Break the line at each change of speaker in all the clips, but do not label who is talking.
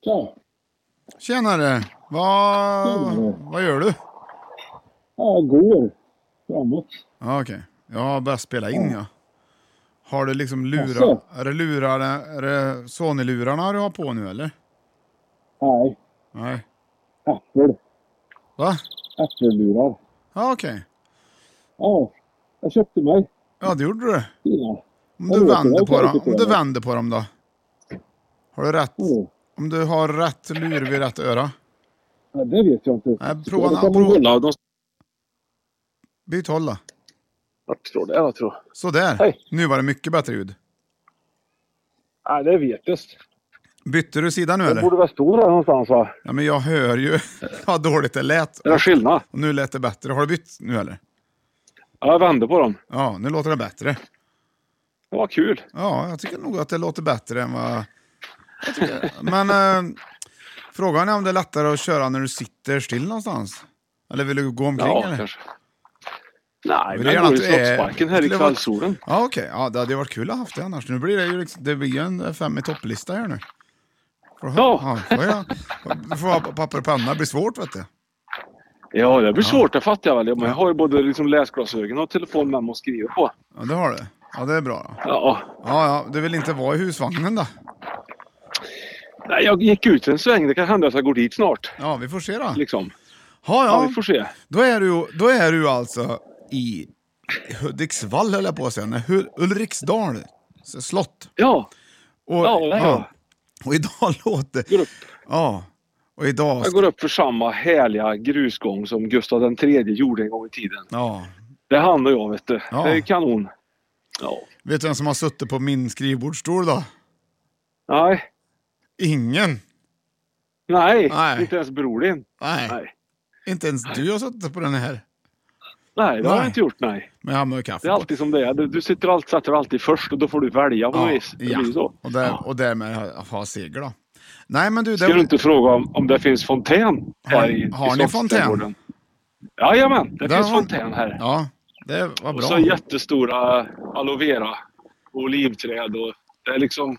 Ja,
Tjenare! Vad, vad gör du?
jag går framåt.
Ja, Okej, jag har börjat spela in ja. Har du liksom lurar?
Jaså?
Är det lurar, är det Sony-lurarna du har på nu eller?
Nej,
Nej.
äppel.
Va?
Äppellurar.
Ja okej.
Ja, jag köpte mig
Ja det gjorde du.
fina.
Om
Jag
du
vet,
vänder
jag
på
kan
dem,
inte
om du
säga.
vänder på dem då? Har du rätt?
Mm.
Om du har rätt lur vid rätt öra?
Ja, det vet jag inte.
Nej, prova
Då
en
kan
annan.
man
Prova-
kolla. De
Byt håll då.
jag tror det. Jag tror.
Sådär.
Hej.
Nu var det mycket bättre ljud.
Nej, det vet jag.
Bytte du sida nu
Det
eller?
borde väl stå där någonstans va?
Ja men jag hör ju vad dåligt det lät.
Det är en skillnad.
Och nu lät det bättre. Har du bytt nu eller?
Ja, jag vände på dem.
Ja, nu låter det bättre.
Det var kul.
Ja, jag tycker nog att det låter bättre än vad... Jag tycker. Men eh, frågan är om det är lättare att köra när du sitter still någonstans? Eller vill du gå omkring?
Ja,
eller?
kanske. Nej,
Vill du
men jag
gärna
går i
att du är-
Slottsparken här i
skulle vara-
kvällssolen.
Ja, okej. Ja, det hade ju varit kul att ha haft det annars. Nu blir det ju liksom, det blir ju en fem i topplista här nu. Får-
Ja.
får jag, du får ha papper och penna, det blir svårt vet du.
Ja, det blir svårt. Det fattar jag väl. Men jag har ju både liksom läsglasögon och telefon med mig att skriva på.
Ja, det har du. Ja, det är bra. Då.
Ja.
Ja, ja, du vill inte vara i husvagnen då?
Nej, jag gick ut en sväng. Det kan hända att jag går dit snart.
Ja, vi får se då.
Liksom.
Ja,
Ja,
ja.
vi får se.
Då är du, då är du alltså i Hudiksvall höll jag på att säga, Nej, Hul- Ulriksdal s- slott.
Ja,
Och,
Ja, där ja.
Och idag låter...
Går upp.
Ja. Och idag...
jag går upp för samma härliga grusgång som Gustav III gjorde en gång i tiden.
Ja.
Det är han och jag vet du.
Ja.
Det är kanon. Ja.
Vet du vem som har suttit på min skrivbordsstol då?
Nej.
Ingen.
Nej.
Nej.
inte ens bror din.
Nej.
Nej,
Inte ens du har suttit på den här.
nej det
Nej.
har jag inte gjort. Nej.
Men jag har med kaffe
Det är alltid som det är. Du du sitter alltid, sätter dig alltid först och då får du välja på något vis. Det blir
ja.
så.
Och, där, och därmed har har jag seger då. Nej men du,
Ska du
det,
inte fråga om, om det finns fontän här
Har-
i
har
i
ni
Slottsträdgården? Jajamän, det
Där
finns
har-
fontän här.
ja, det var
Och så
bra.
jättestora aloe vera och olivträd och det är liksom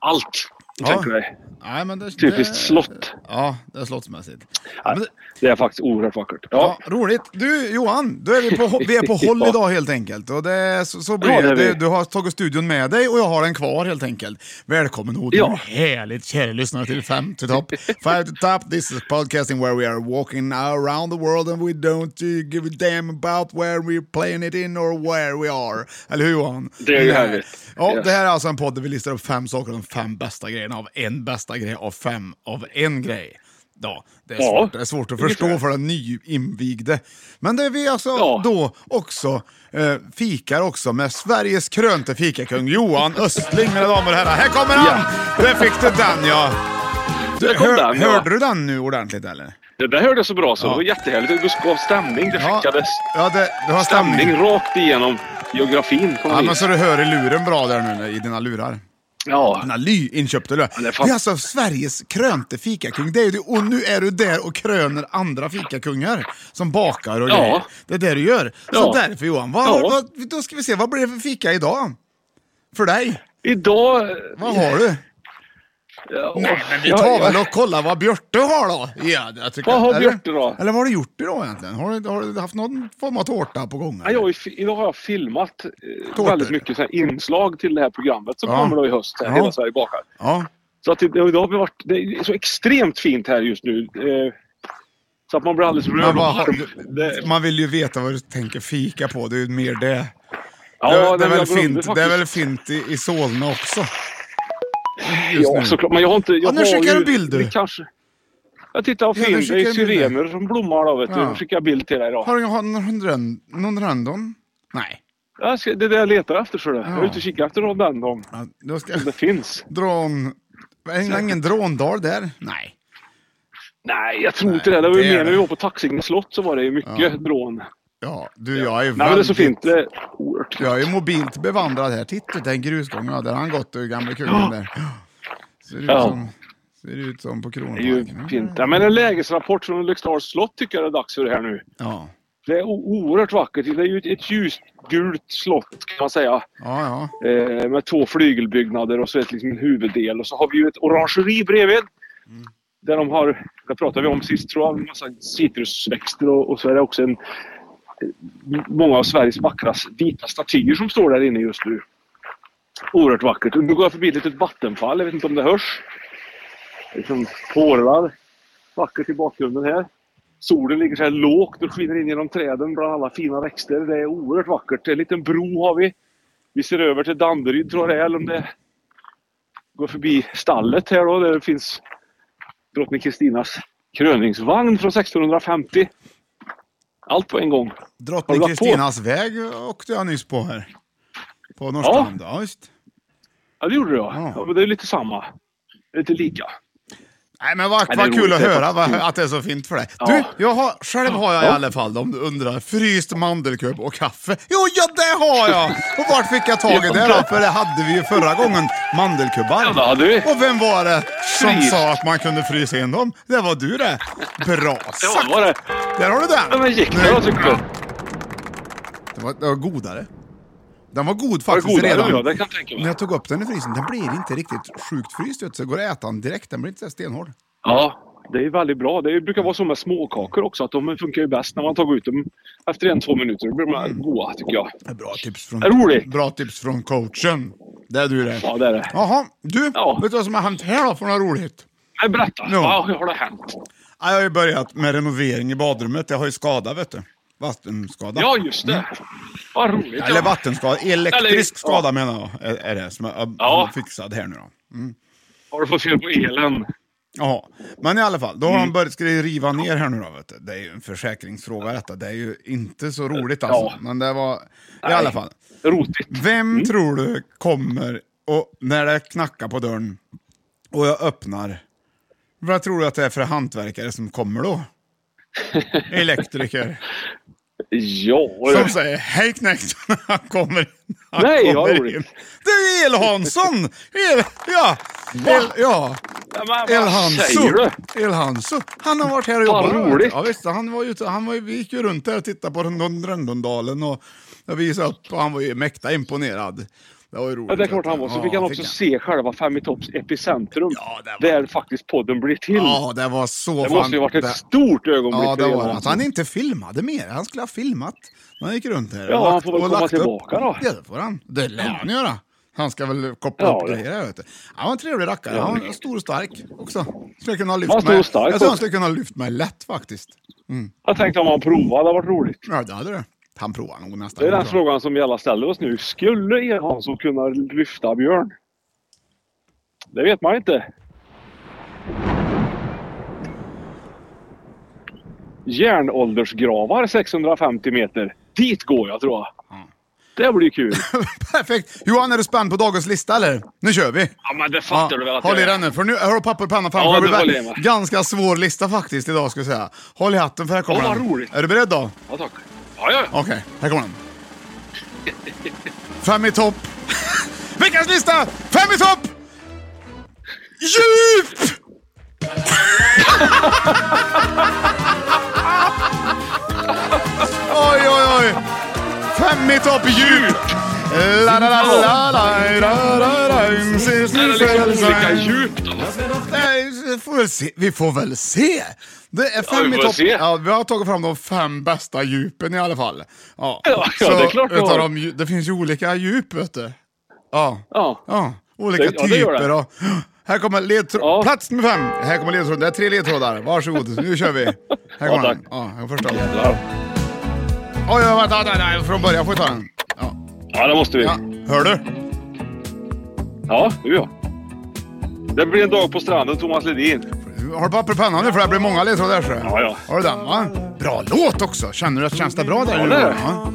allt.
Ja.
Tänker dig.
Nej, men det,
Typiskt
det,
slott.
Ja, det är slottsmässigt.
Nej,
Men det-
Det är faktiskt oerhört vackert.
Ja,
Ja,
roligt. Du Johan, då är vi, på, vi är på håll idag helt enkelt. Och det, är- så, så blir
Ja, det
det.
är
Du,
vi.
du har tagit studion med dig och jag har den kvar helt enkelt. Välkommen hit.
Ja.
Härligt kära lyssnare till Fem to Top. Five to Top, this is podcasting where we are walking around the world and we don't uh, give a damn about where we're playing it in or where we are. Eller hur Johan?
Det är ju
Nej.
härligt.
Ja,
Yes.
Det här är alltså en podd där vi listar upp fem saker, de fem bästa grejerna av en bästa grej av fem av en grej. Ja, det är,
Ja.
svårt, det är svårt att förstå för den nyinvigde. Men det vi alltså
Ja.
då också eh, fikar också med Sveriges krönte fikakung Johan Östling, mina damer och herrar. Här kommer han!
Ja.
Där fick du den ja! Du,
Där kom
hör,
den, ja.
Hörde du den nu ordentligt eller?
Det där hörde jag så bra så.
Ja.
Det var jättehärligt. Det gav stämning. Det
Ja,
skickades
ja det, du har
stämning
stämning.
rakt igenom geografin. Kom
Ja,
hit.
men så du hör i luren bra där nu i dina lurar.
ja.
Dina lyinköpta lurar.
Ja,
Det är,
det är fan-
alltså Sveriges krönte fikakung. Det är ju du, och nu är du där och kröner andra fikakungar som bakar och
Ja.
grejer. Det är det du gör. Så
Ja.
därför Johan, vad,
Ja.
vad, då ska vi se, vad blir det för fika idag? För dig?
Idag...
Vad har du?
Ja,
Vi tar väl och kollar vad Björte har då. Ja, jag tycker,
Vad har
eller-
Björte då?
Eller vad har du gjort idag egentligen? Har du, har du haft någon form av tårta på gång?
Ja, jag har ju, fi- idag har jag filmat eh,
Tårtor.
väldigt mycket så här inslag till det här programmet som
Ja.
kommer då i höst. Här,
Ja.
Hela Sverige bakar.
ja.
Så att det, det har varit, det är så extremt fint här just nu. Eh, så att man blir alldeles rörd.
Men
och
vad, har-
varm. Det-
man vill ju veta vad du tänker fika på. Det är ju mer det.
Ja,
det, är- det, är
nej, men
väl
jag glömde
fint, det är
faktiskt-
väl fint i, i Solna också? just
Ja,
nu.
såklart. Men jag har inte... Jag
Ja, nu
har
skickar
ju-
du bild, du.
det Kanske, jag tittar på
Ja, nu
film.
skickar
det är
du bild, du.
syrener som blommar då, vet du.
Ja.
Nu skickar jag bild till dig idag.
Har du någon, någon, någon random? Nej.
Jag ska, det är det jag letar efter, så det. Jag
Ja.
är ute och kikar efter någon random.
Ja, Då ska
Det finns.
drån... Är det ingen dråndal där? Nej.
Nej, jag tror inte det. Det var
det
ju
är
mer när
det.
vi var på Taxinge slott så var det ju mycket drån.
Ja, du jag är
Nej, men det är så
väldigt-
fint. Det är oerhört.
Jag är mobilt bevandrad här. Titta, den grusgången, ja, där har han gått, den gamle kungen där. Ser ut,
Ja.
som, ser ut som på
Det är ju
Kronparken.
fint. Ja, men en lägesrapport från Ulriksdals slott tycker jag det är dags för här nu.
Ja,
Det är o- oerhört vackert. Det är ju ett- ett ljusgult slott kan man säga.
ja, ja.
Eh, med två flygelbyggnader och så ett, liksom, en huvuddel. Och så har vi ju ett orangeri bredvid. Där de har, det pratade vi om sist tror jag, en massa citrusväxter och, och så är det också en, eh, många av Sveriges vackraste vita statyer som står där inne just nu. Oerhört vackert. Och Nu går jag förbi ett litet vattenfall, jag vet inte om det hörs. Det liksom porlar vackert i bakgrunden här. Solen ligger så här lågt och skiner in genom träden bland alla fina växter. Det är oerhört vackert. En liten bro har vi. Vi ser över till Danderyd tror jag det är, eller om det går förbi stallet här då, där det finns drottning Kristinas kröningsvagn från 1650. Allt på en gång. Har du
Drottning
lagt på?
Kristinas väg åkte jag nyss på här. På Norrstrand. Ja. visst.
Ja, det gjorde du
Ja.
ja. ja men det är lite samma. Lite lika.
Nej men vad,
Ja, det är
vad kul
roligt,
att
det är
höra
faktiskt
vad,
kul.
att det är så fint för dig.
Ja.
Du, jag har, själv har jag i
Ja.
alla fall, om du undrar, fryst mandelkubb och kaffe. Jo, ja det har jag! Och vart fick jag tag i det då? För det hade vi ju förra gången, mandelkubbar.
Ja, det hade vi.
Och vem var det som
Fryst.
sa att man kunde frysa in dem? Det var du det. Bra
Ja,
sagt!
det var det.
Där har du den!
Ja, men gick
Nu-
det då tycker du?
Det var, det var godare. Den var god
Var det
faktiskt
godare
redan.
då? Ja, det kan jag tänka
När
mig.
jag tog upp den i frysen, den blir inte riktigt sjukt fryst ut, så går det att äta den direkt. Den blir inte så här stenhård.
Ja. Det är väldigt bra. Det brukar vara så med småkakor också, att de funkar ju bäst när man tar ut dem efter en, två minuter. Då blir de här goda tycker jag.
Det är Bra tips från,
Roligt.
bra tips från coachen. Det är du det.
Ja, det är det.
Jaha, du,
Ja.
vet du vad som har hänt här då för något roligt?
Nej, berätta.
Ja.
Ja, hur har det hänt?
Ja, Jag har ju börjat med renovering i badrummet. Jag har ju skada, vet du. Vattenskada.
Ja, just det. Vad roligt.
Mm. Eller
ja.
vattenskada, elektrisk
Eller-
skada
ja.
menar jag är, är det som jag
Ja.
har fixat här nu då.
Har du fått fel på elen?
Ja, men i alla fall, då har
Mm.
de börjat ska de riva ner här nu då. Vet du. Det är ju en försäkringsfråga detta. Det är ju inte så roligt alltså.
Ja.
Men det var, i alla fall.
Rotigt.
Vem tror du kommer och när det knackar på dörren och jag öppnar, vad tror du att det är för hantverkare som kommer då? Elektriker
Ja,
som säger hej knekt när han kommer in. Han
Nej, vad
kommer
roligt.
in. Det är El-Hansson! El, ja, El, ja.
Ja, men vad säger
El-Hanso.
du?
El-Hanso. Han har varit här och
Vad
jobbat.
roligt.
Ja, visst, han var ju, ute- han var, ju- vi gick ju runt där och tittade på Rönd- Röndondalen och jag visade upp och han var ju mäkta imponerad. Det var ju roligt.
Ja, det är klart han var. Så
Ja,
fick han också se själva Fem i topps epicentrum.
Ja, det var-
Där faktiskt podden blir till.
Ja, det var så
det måste ju varit ett
det-
stort ögonblick
Ja, det
för
var det.
Johan.
Att han inte filmade mer. Han skulle ha filmat när han gick runt här. och
Ja, han
lagt-
får väl
och
komma
lagt
tillbaka
upp.
då.
Ja, det får han. Det lär han göra. Han ska väl koppla
Ja,
upp
det.
grejer här, vet du. Han var en trevlig rackare.
Ja.
Han var stor och stark också. Skulle kunna ha lyft
Han var stor
mig.
och stark
Jag tror han
också.
skulle kunna ha lyft mig lätt faktiskt.
Jag tänkte om han provade. Det hade varit roligt.
Ja, det hade du. Han provar nog nästa
Det är
gång,
den
tror jag.
frågan som vi alla ställer oss nu. Skulle El Hansson kunna lyfta Björn? Det vet man inte. Järnåldersgravar 650 meter. Dit går jag tror jag. Det blir kul.
Perfekt. Johan, är du spänd på dagens lista eller? Nu kör vi.
Ja, men det fattar du väl att
Håll
jag
i
är.
den nu, för nu har du papper och penna framför
Ja,
dig.
det håller
blir
jag med.
Ganska svår lista faktiskt idag ska jag säga. Håll i hatten för här kommer
Åh, vad
den.
roligt.
Är du beredd då?
Ja, tack. Ja, ja.
Okej, här kommer den. Fem i topp. Veckans lista! Fem i topp! Djup! oj, oj, oj. Fem i topp djup. La, la, la, la, la, la, la, la. Ses
Det
nu,
är liksom olika
frälsaren.
djup då.
Nej, vi får väl se. Vi får väl se. Det är
Ja,
fem
vi
i
får
topp.
se.
Ja, vi har tagit fram de fem bästa djupen i alla fall. Ja,
Ja, ja, det är klart vi
utav
har.
de, dju- Det finns ju olika djup, vet du. Ja,
Ja.
ja olika
Det- ja, det gör det.
typer. Och, här kommer ledtråd.
Ja.
Plats nummer fem. Här kommer ledtråd. Det är tre ledtrådar. Varsågod, nu kör vi. Här kommer
tack.
den. Ja, här kommer första.
Ja.
Oj, oj, vänta, vänta, vänta. Från början får vi ta den. Ja.
Ja, det måste vi.
ja. Hör du?
Ja, du ja. Det blir en dag på stranden, Thomas Ledin.
Har du papper och penna nu? För det blir många ledtrådar. här, ser du.
Ja, ja.
Har du den va? Bra låt också! Känner du att känns det bra där?
Ja,
nu,
det är
va?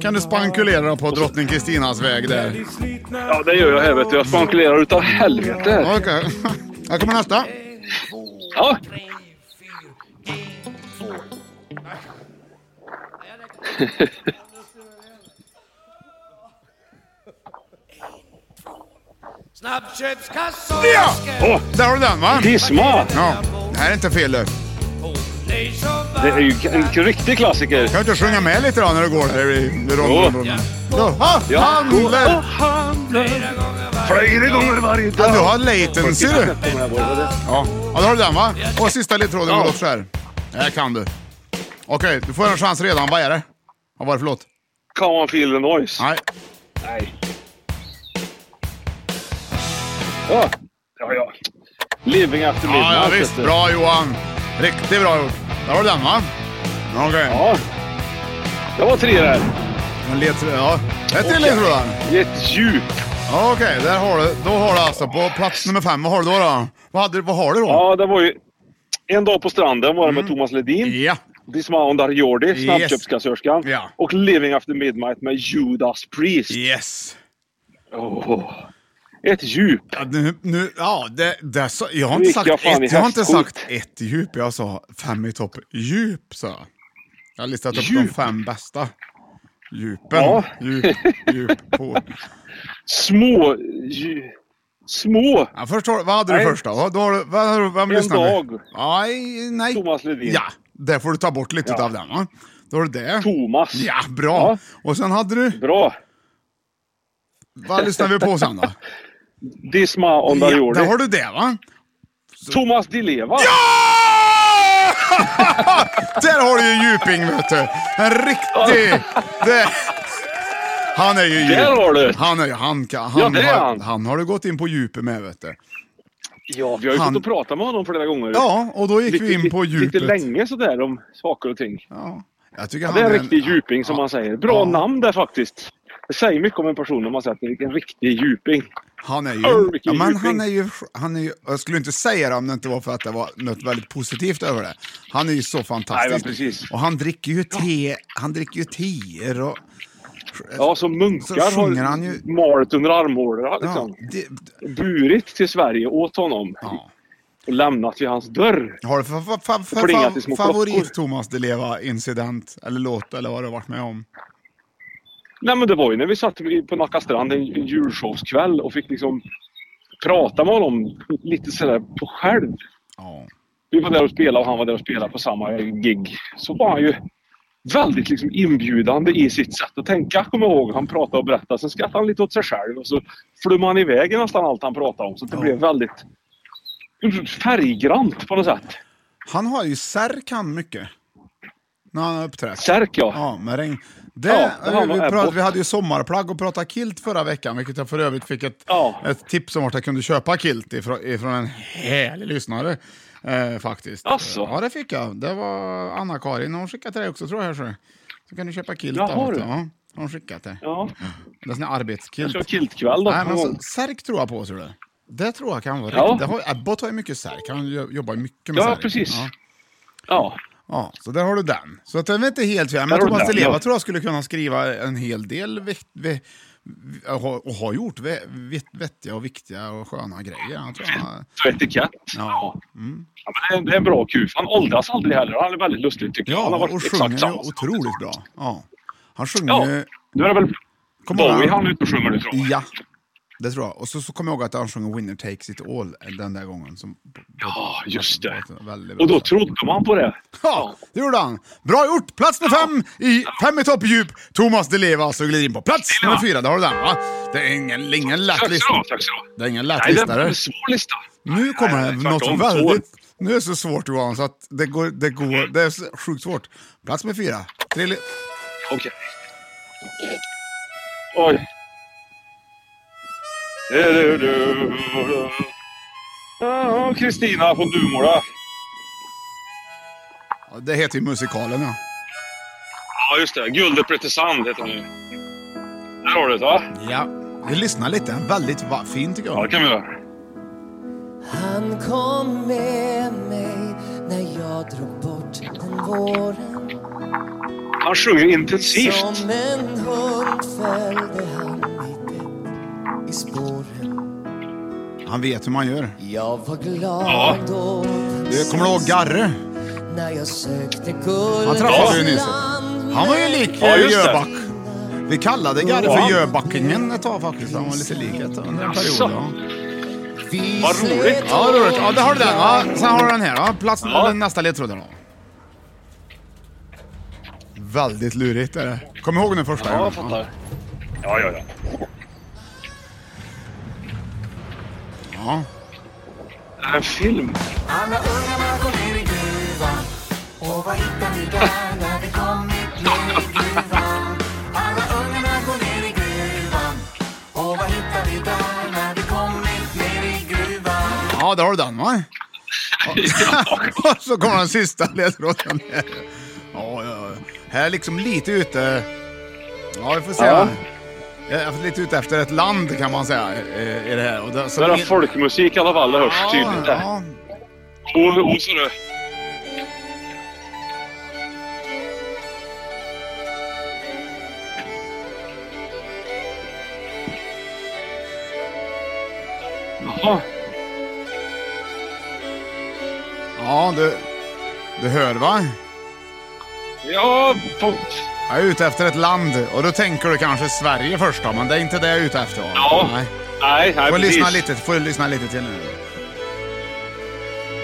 Kan du spankulera på drottning Kristinas väg där?
Ja, det gör jag här vet du. Jag spankulerar utav helvete.
Okej. Här kommer nästa.
Ja.
Snabbköpskassor
Ja!
Åh,
Där har du den va?
Disma!
Ja, det här är inte fel du.
Det är ju en riktig klassiker.
Kan du inte sjunga med lite då när du går där i rondbron? Ja.
Ja.
Handler!
Och handlar Flera gånger varje
Ja, du
dag.
har latency du. Ja, ja då har du den va? Och sista ledtråden
Ja.
går också här. Det här kan du. Okej, du får en chans redan. Vad är det? Vad var det för låt?
Come on feel the noise.
Nej.
Nej. Ja, ja, ja. Living after midnight.
Ja, ja visst.
vet du.
Bra Johan. Riktigt bra gjort. Där har du den va? Okej.
Ja. Det var tre där.
En ledtråd. Ja. Ett till ledtråd. där.
Ett djup.
Ja, Okej, där har du. Då har du alltså på plats nummer fem. Vad har du då? då? Vad, hade, vad har du då?
Ja, det var ju... En dag på stranden var det
Mm.
med Thomas Ledin.
Ja.
Dismaun Darjordi,
Yes.
snabbköpskassörskan.
Ja.
Och Living After Midnight med Judas Priest.
Yes.
Åh. Ett djup.
Ja, nu, nu, ja, det, det, sa- jag har inte
gick
sagt
jag fan i
ett, jag har inte
hästskjut.
sagt ett djup. Jag sa fem i topp djup, sa jag. Jag har listat upp de
Djup.
fem bästa djupen.
Ja.
Djup, djup på.
Små... Dju, små.
Ja, först, har- vad hade du
Nej.
först då? Vad, då har du- vad, har du- vem
En
lyssnar du?
dag.
Aj, nej.
Thomas Ledin.
Ja, där får du ta bort lite av den va? Då har du det.
Thomas.
Ja, bra. Och sen hade du,
Bra.
vad lyssnar vi på sen då?
Dismaun
Ja,
Darjordi.
där har du det va?
Thomas Di Leva.
Ja! där Ah! har du ju djuping vet du. En riktig... Det... Han är ju djup.
Där har du.
Han är ju, han kan, han,
Ja, det är
har,
han.
han har du gått in på djupet med vet du.
Ja, vi har ju
Han-
fått att prata med honom flera gånger.
Ja, och då gick vi in på djupet.
Lite länge sådär om saker och ting.
Ja. Jag tycker
Det är
han
en
är en-
riktig djuping som man säger. Bra
Ja.
namn där faktiskt. Det säger mycket om en person om man säger att det är en riktig djuping.
Han är
Öh,
ju, ja,
vilken
men
djuping.
han är ju, han är ju, jag skulle inte säga det om det inte var för att det var något väldigt positivt över det. Han är ju så fantastisk.
Nej, men precis.
Och han dricker ju te, han dricker ju teer och...
Ja, som munkar
Så sjunger
har
han ju-
marit under armhålorna.
Ja,
Liksom.
det,
Burit till Sverige åt honom.
ja.
Och lämnat vid hans dörr.
Har du för, för, för, för,
Och plingat i
för
små klockor.
favorit Thomas Di Leva incident eller låt eller vad du har varit med om?
Nej, men det var ju när vi satt på Nacka strand en julshowskväll och fick liksom prata med honom lite sådär på själv.
Ja.
Vi var där och spelade och han var där och spelade på samma gig. Så var han ju väldigt liksom inbjudande i sitt sätt att tänka, kommer jag ihåg. Han pratade och berättade. Sen skrattade han lite åt sig själv och så flummade han iväg i nästan allt han pratade om. Så det blev väldigt färggrant på något sätt.
Han har ju särk han mycket. När han har uppträtt.
Särk ja.
Ja, med regn. Det,
Ja, det har
vi,
man
prat,
Airport.
vi hade ju sommarplagg och pratade kilt förra veckan, vilket jag för övrigt fick ett,
Ja.
ett tips om vart jag kunde köpa kilt ifrån, ifrån en härlig lyssnare. Eh, faktiskt.
Asså?
Ja, det fick jag. Det var Anna-Karin, hon skickade till dig också tror jag. Så, så kan du köpa kilt.
Jaha,
där, vet
du.
du. Ja, hon skickat det.
Ja,
Det är sån här arbetskilt.
kör kiltkväll då.
Nej, men så, särk tror jag på, ser du. Det tror jag kan vara
Ja.
riktigt. Det har, Abbott har ju mycket särk. Han jo- jobbar ju mycket med
Ja,
särk.
precis.
Ja.
ja.
Ja, så där har du den. Så att den är inte helt fel.
Där
Men
har du
Thomas Di
den,
Leva
ja.
tror jag skulle kunna skriva en hel del vikt, vi, vi- och ha- och har gjort vi- vitt- vettiga och viktiga och sköna grejer. Han tror han,
Så etikett.
ja. Mm.
Ja, men det, är en, det är en bra kuf. Han åldras aldrig heller. Han är väldigt lustig tycker jag. Han har
ja,
varit
och
exakt
sjunger ju
samma.
otroligt bra. Ja. Han
Ja,
sjunger ju...
nu är det väl
Kom
Bowie
ihåg-
han är ute och sjunger nu tror jag.
Ja, det tror jag. Och så, så kommer jag ihåg att han sjunger Winner takes it all den där gången. Som, på- på-
Ja, just det.
på ett väldigt bra
Och då
sätt.
trodde man på det.
Ja, det gjorde han. Bra gjort! Plats nummer fem i Fem i topp djup. Thomas Di Leva alltså glider in på plats nummer fyra. Där har du den va? Det är ingen, ingen lätt
Tack så
lista.
bra, tack så bra.
Det är ingen lätt
Nej, det
lista.
är
det.
en svår lista.
Nu kommer
Nej,
det
tvärtom,
något
svår.
väldigt... Nu är det så svårt Johan så att det går, det går, det är så sjukt svårt. Plats nummer fyra. Tre li-
Okej. Oj. Du, du, du, du. Ja, Kristina från Duvemåla.
Ja, det heter ju musikalen ja.
Ja, just det. Guldet Pretesand heter hon ju. Där har du det, va?
Ja. Vi lyssnar lite. En Väldigt va- fin tycker
Ja, det
jag.
kan vi göra.
Han kom med mig när jag drog bort den våren
Han sjunger intensivt.
Som en hund följde han mig tätt i spåren
Han vet hur man gör.
Jag var glad
Ja.
åt
Du,
hans
kommer du ihåg Garre?
när jag sökte guld
Han träffade
Ja.
ju nyss. Han var ju lik
Ja,
eh,
just det.
Jöback. Vi kallade Garre
Ja.
för Jöbackingen ett tag faktiskt. Han var lite lik ett tag under en period.
Jaså?
Ja.
Vad roligt.
Ja, det är roligt. Ja, där har du den. Va? Sen har du den här. Va? Plats
Ja.
eller nästa ledtråd. då. Väldigt lurigt är det. Kom ihåg den första.
Ja,
gången.
jag fattar. Ja, ja, ja.
Ja.
Det här är en film.
ja, där har du den va? Och- Och så kommer den sista ledtråden. här. Ja, ja, ja. Här är liksom lite ute... Ja, vi får se.
Ja.
Jag är lite ute efter ett land kan man säga. eh, I det här. Och det, så
Det är
in-
folkmusik i alla fall. Det hörs tydligt där.
Ja,
Och, och så det. Jaha.
ja du, du hör va?
Ja, på,
Jag är ute efter ett land och då tänker du kanske Sverige först då, men det är inte det jag är ute efter. va?
ja.
Nej.
Nej, nej
Får lyssna
precis.
lite, får lyssna lite till nu.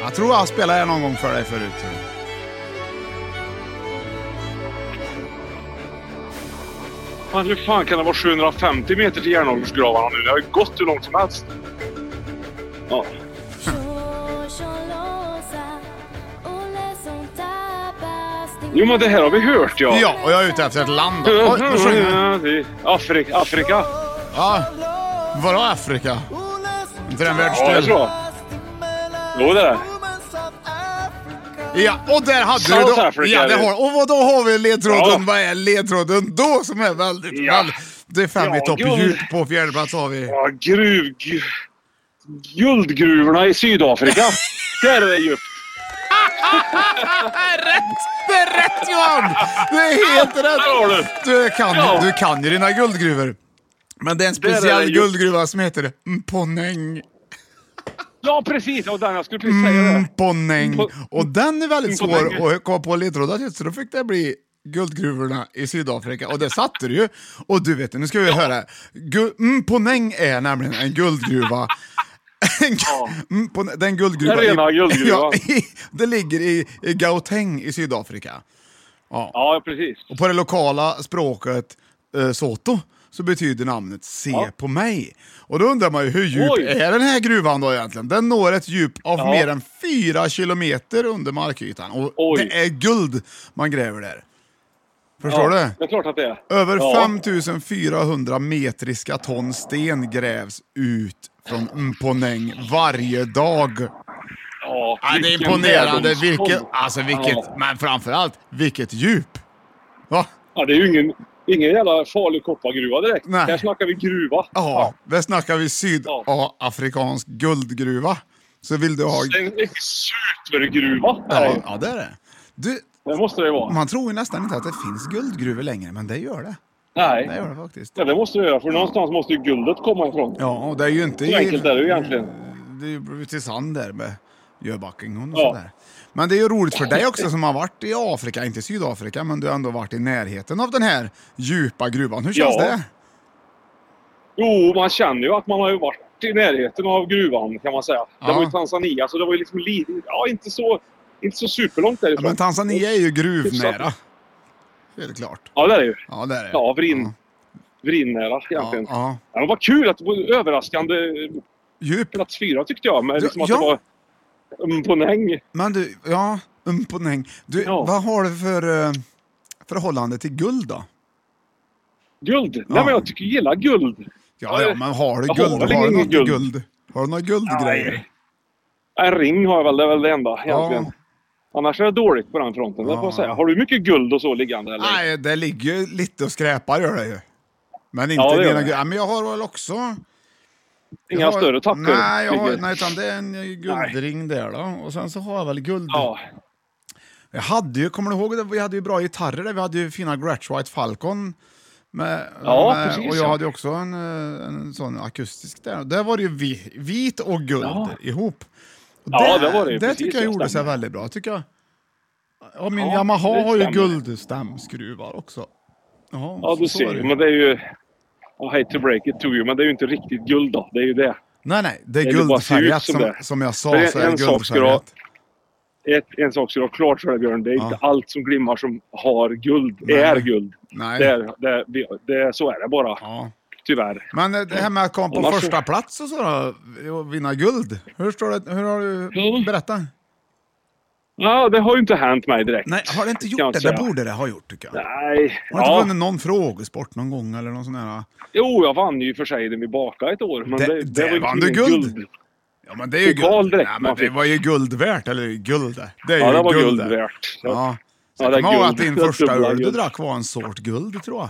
Jag tror jag spelade det någon gång för dig förut. tror jag.
Fan, hur fan kan det vara 750 meter till järnåldersgravarna nu? Det har ju gått hur långt som helst. Ja. Jo, men det här har vi hört ja.
Ja, och jag är ute efter ett land. då. Oj, nu sjunger jag.
Afrika. Afrika.
Ja, vadå Afrika? Inte den
Ja, jag
världsdel?
tror det. Jo, det är det.
Ja, och där hade du
South
då.
Africa,
ja, det
du.
har, och vad då har vi ledtråden?
Ja.
Vad är ledtråden då som är väldigt...
Ja.
väldigt- det är fem i
Ja,
topp
gud.
djup på fjärde plats har vi.
Ja, gruv... gu- Guldgruvorna i Sydafrika. Där är det djupt.
Det är rätt Johan! Det är helt
har
rätt!
du.
Du kan,
Ja.
du kan ju dina guldgruvor. Men det är en
är det
speciell
ju.
guldgruva som heter Mponeng.
Ja, precis. Och den jag skulle precis säga
Mm,
det.
Mponeng.
Mpo-
Och den är väldigt
Mponeng.
svår att komma på ledtrådar till, så då fick det bli guldgruvorna i Sydafrika. Och det satte du ju. Och du vet, nu ska vi höra. Gu- Mponeng är nämligen en guldgruva. En gu- Mponeng- Den guldgruva.
Den rena
i-
guldgruvan.
Ja, i, det ligger i, i Gauteng i Sydafrika.
Ja, precis.
Och på det lokala språket eh, Soto så betyder namnet se
Ja.
på mig. Och då undrar man ju hur djup
Oj.
är den här gruvan då egentligen? Den når ett djup av
Ja.
mer än fyra kilometer under markytan och
Oj.
det är guld man gräver där. Förstår
ja,
du?
Det är klart att det är.
Över
ja.
5400 metriska ton sten grävs ut från Mponeng varje dag.
Ja,
Ja, det är
vilken
imponerande.
världsdom.
Vilket, alltså vilket,
Ja.
men framförallt vilket djup. Va?
Ja, det är ju ingen, ingen jävla farlig koppargruva direkt.
Nej.
Här snackar vi gruva.
Ja, där snackar vi sydafrikansk guldgruva. Så vill du ha...
En, en supergruva.
Ja,
Ja.
ja, det är det. Du,
Det måste det ju vara.
Man tror ju nästan inte att det finns guldgruvor längre, men det gör det. Det
Nej.
gör det faktiskt.
Ja, det måste det göra. För någonstans måste ju guldet komma ifrån.
Ja, och det är ju inte...
Så enkelt är det ju egentligen.
Det är ju till sand där med Jöbackingen och
Ja.
sådär. Men det är ju roligt för dig också som har varit i Afrika, inte Sydafrika, men du har ändå varit i närheten av den här djupa gruvan. Hur känns
Ja.
det?
Jo, man känner ju att man har ju varit i närheten av gruvan kan man säga.
Ja.
Det var ju Tanzania, så det var ju liksom lite... Ja, inte så, inte så superlångt
Ja,
därifrån.
men Tanzania är ju gruvnära. Helt klart.
Ja, det är det ju.
Ja, det är det.
Ja, vrin,
Ja.
vrinnära
Ja,
egentligen. Ja,
ja.
men vad kul att det var överraskande
Djup.
plats fyra tyckte jag. Men
Ja,
liksom att
ja.
det var... Mm, på Näng.
Men du, ja, umponäng. Du,
Ja.
vad har du för eh, förhållande till guld då?
Guld. Nej, men jag tycker jag gillar guld.
Ja, ja, men har du
Jag
guld?
har väl
Har du
ingen
något guld?
guld.
guld? Har du några guldgrejer?
En ring har jag väl, det är väl det enda egentligen. Annars är det dåligt på den fronten, det får jag säga. Har du mycket guld och så liggande eller?
Nej, det ligger ju lite och skräpar gör det ju. Men inte
Ja, det gör
dina
det.
guld. Ja, men jag har väl också...
Inga
jag har-
större tappor?
Nej, jag har,
ligger?
nej, utan det är en guldring där då. Och sen så har jag väl guld...
Ja.
Jag hade ju, kommer du ihåg det? Vi hade ju bra gitarrer där. Vi hade ju fina Gratch White Falcon. Med,
Ja,
med,
precis,
Och jag
ja.
hade ju också en, eh, en sån akustisk där. Där var det ju vi, vit och guld
Ja.
ihop. Och
Ja, det var det ju,
Det
precis,
tycker jag
ja,
gjorde sig
stämmer.
väldigt bra, tycker jag. Ja, min
Ja,
Yamaha
det
har ju
stämmer.
guldstämskruvar också. Ja,
ja, du
så
ser.
är det
ju.
ju.
Men det är ju... I hate to break it to you, men det är ju inte riktigt guld då. Det är ju det.
Nej, nej, det är
Det bara ser ut
guldfärgat
som
som,
det.
som jag sa.
Det är
Så är det
en sak ska du ha.
guldfärgat.
Ett, en sak ska du ha klart för dig Björn. Det är inte allt som glimmar som har guld,
Nej.
är guld.
Nej.
Det är, det, är- det, är- så är det bara.
Ja.
Tyvärr.
Men eh, det här med att komma på
Annars så-
första plats och så då, och vinna guld. Hur, står det, hur har du...
Mm.
Berätta.
Ja, det har ju inte hänt mig direkt.
Nej, har det inte
kan
gjort
jag
det? Det
säga.
borde det ha gjort tycker jag.
Nej.
Har du inte
Ja.
vunnit någon frågesport någon gång eller någon sån här?
Jo, jag vann ju i och för sig den vi bakade ett år. Men
Det-
det,
där
det, var ju
vann du
ingen
guld. Ja men det är ju
Total
guld.
dräkt
Nej, men
man
det
fick.
var ju guld värt, eller guld. Det är
Ja,
ju
det var
guld
guld
det.
värt.
Ja. Så
Ja, det är
jag kommer ihåg att
guld.
din
Det är
första
dubbla
öl du
guld.
drack var en sort guld tror jag.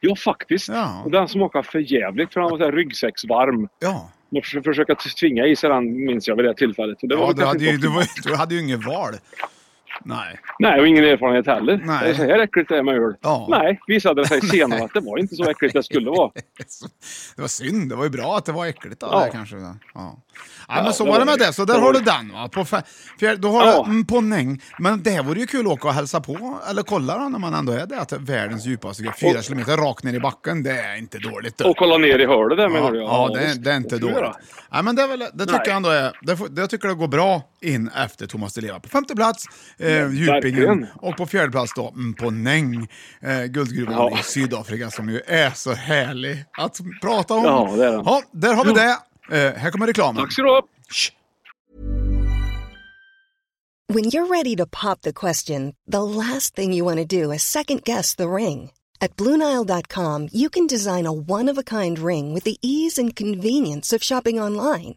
Ja, faktiskt.
Ja.
Och den smakade för jävligt för den var så här ryggsäcksvarm.
Ja.
Man försökte försöka tvinga i sig den, minns jag, vid det tillfället. Och det var
ja
väl
du,
kanske
hade ju,
inte
du,
optimalt.
var, du hade ju inget val. Nej.
Nej, och ingen erfarenhet heller.
Nej.
Det är så här äckligt det är med öl.
Ja.
Nej, visade det sig senare att det var inte så äckligt det skulle vara.
Det var synd. Det var ju bra att det var äckligt av
Ja.
det kanske. Ja. Ja, men så
det
var det
var
med
det.
det. Så
Det
där
var
har du
det.
den va. På fe- fjär, då har
Ja.
du mm, på Näng. Men det här vore ju kul att åka och hälsa på. Eller kolla då när man ändå är där. Att det är världens djupaste grej. Fyra
Och-
kilometer rakt ner i backen. Det är inte dåligt. du.
Och kolla ner i hörnet där
Ja,
menar du?
ja, det, är,
visst.
det är inte
ska vi
dåligt.
göra.
Ja, men det, är väl, det tycker
Nej.
jag ändå är... Det, får, det tycker jag går bra in efter Thomas Di Leva. På femte plats, eh, Djupingen.
verkligen.
Och på fjärde plats då, mm, på Neng, eh, guldgruvan
Ja.
i Sydafrika som ju är så härlig att prata om.
Ja, det är den.
Ja, där har vi det. Eh, här kommer reklamen.
Tack ska du ha!
When you're ready to pop the question, the last thing you want to do is second guess the ring. At Bluenile.com, you can design a one of a kind ring with the ease and convenience of shopping online.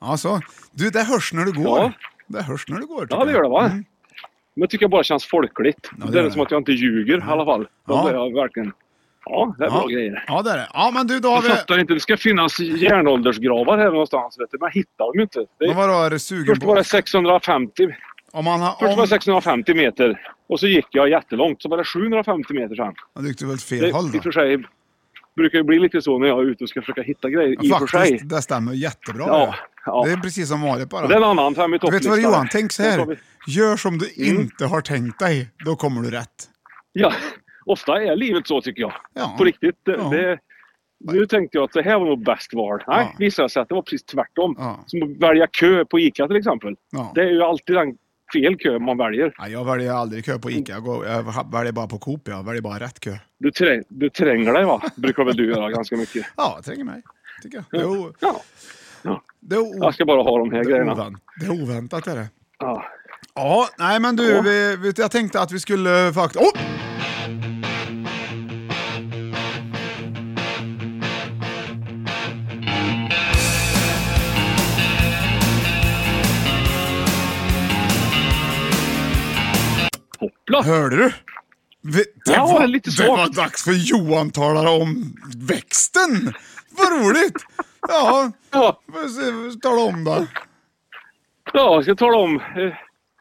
Ja, så. Du, det hörs när du går.
Ja.
Det hörs när du går.
Ja,
tycker
det gör det va?
Mm.
Men jag tycker jag bara känns folkligt.
det
det
gör
är
det.
som att jag inte ljuger i alla fall. Då
Ja.
blir jag verkligen... Ja, det är bra grejer.
Ja, det är det. Ja, men du, då har
Jag
vi...
fattar inte. Det ska finnas järnåldersgravar här någonstans vet du. Men jag hittar dem inte. Det
Men
är,
vadå, är du sugen
först
på...
var det 650
Om man har...
Först var
Om...
det 650 meter och så gick jag jättelångt. Så var det 750 meter sen.
Han gick väl åt fel
Det
håll
i och
då?
för sig brukar ju bli lite så när jag är ute och ska försöka hitta grejer. I och för sig.
Faktiskt, det stämmer jättebra.
Ja, ja.
Det är precis som vanligt bara.
Det är en annan fem
Du
i
vet
topplistan.
vad Johan, tänk så
Då tar vi- Mm.
här. Gör som du inte har tänkt dig, då kommer du rätt.
Ja, ofta är livet så tycker jag.
Ja.
På riktigt. Det,
Ja.
det, nu tänkte jag att det här var nog bäst val. Nej,
Ja.
visade sig att det var precis tvärtom.
Ja.
Som att välja kö på ICA till exempel.
Ja.
Det är ju alltid den fel kö man väljer.
Nej, jag väljer aldrig kö på Ica. Jag, går, jag väljer bara på Coop. Jag väljer bara rätt kö.
Du, träng, du tränger dig va? Brukar väl du göra ganska mycket.
Ja, jag tränger mig. Tycker jag. Det är, o...
Ja,
det är, o...
jag ska bara ha de här
det är,
grejerna.
ovänt... det är oväntat. Är det.
Ja.
Ja, nej men du, vi, vi, jag tänkte att vi skulle faktiskt... Oh!
Hoppla!
Hörde du? Vi, det,
Ja,
var,
lite
det var
svagt.
dags för Johan talar om växten. Vad roligt! Ja,
Ja,
får se, får se, tala om då.
ja, jag ska tala om. eh,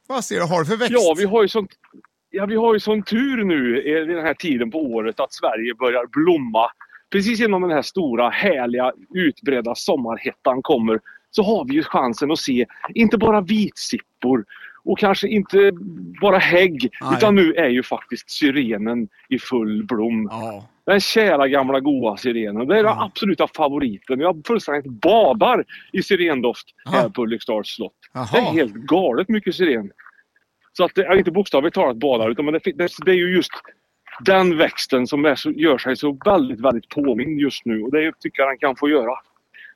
Vad ser du har du för växt?
Ja, vi har ju sånt... Ja, vi har ju sån tur nu eh, vid den här tiden på året att Sverige börjar blomma. Precis innan den här stora, härliga, utbredda sommarhettan kommer så har vi ju chansen att se inte bara vitsippor och kanske inte bara hägg.
Nej.
Utan nu är ju faktiskt syrenen i full blom.
Ja,
Den kära gamla goa sirenen. Det är den absoluta favoriten. Jag fullständigt badar i sirendoft här
Ja.
på Ulriksdals slott.
Jaha.
Det är helt galet mycket siren. Så att, det är inte bokstavligt talat badar utan men det, fin- det, det är ju just den växten som är så, gör sig så väldigt, väldigt påmind just nu. Och det tycker jag den kan få göra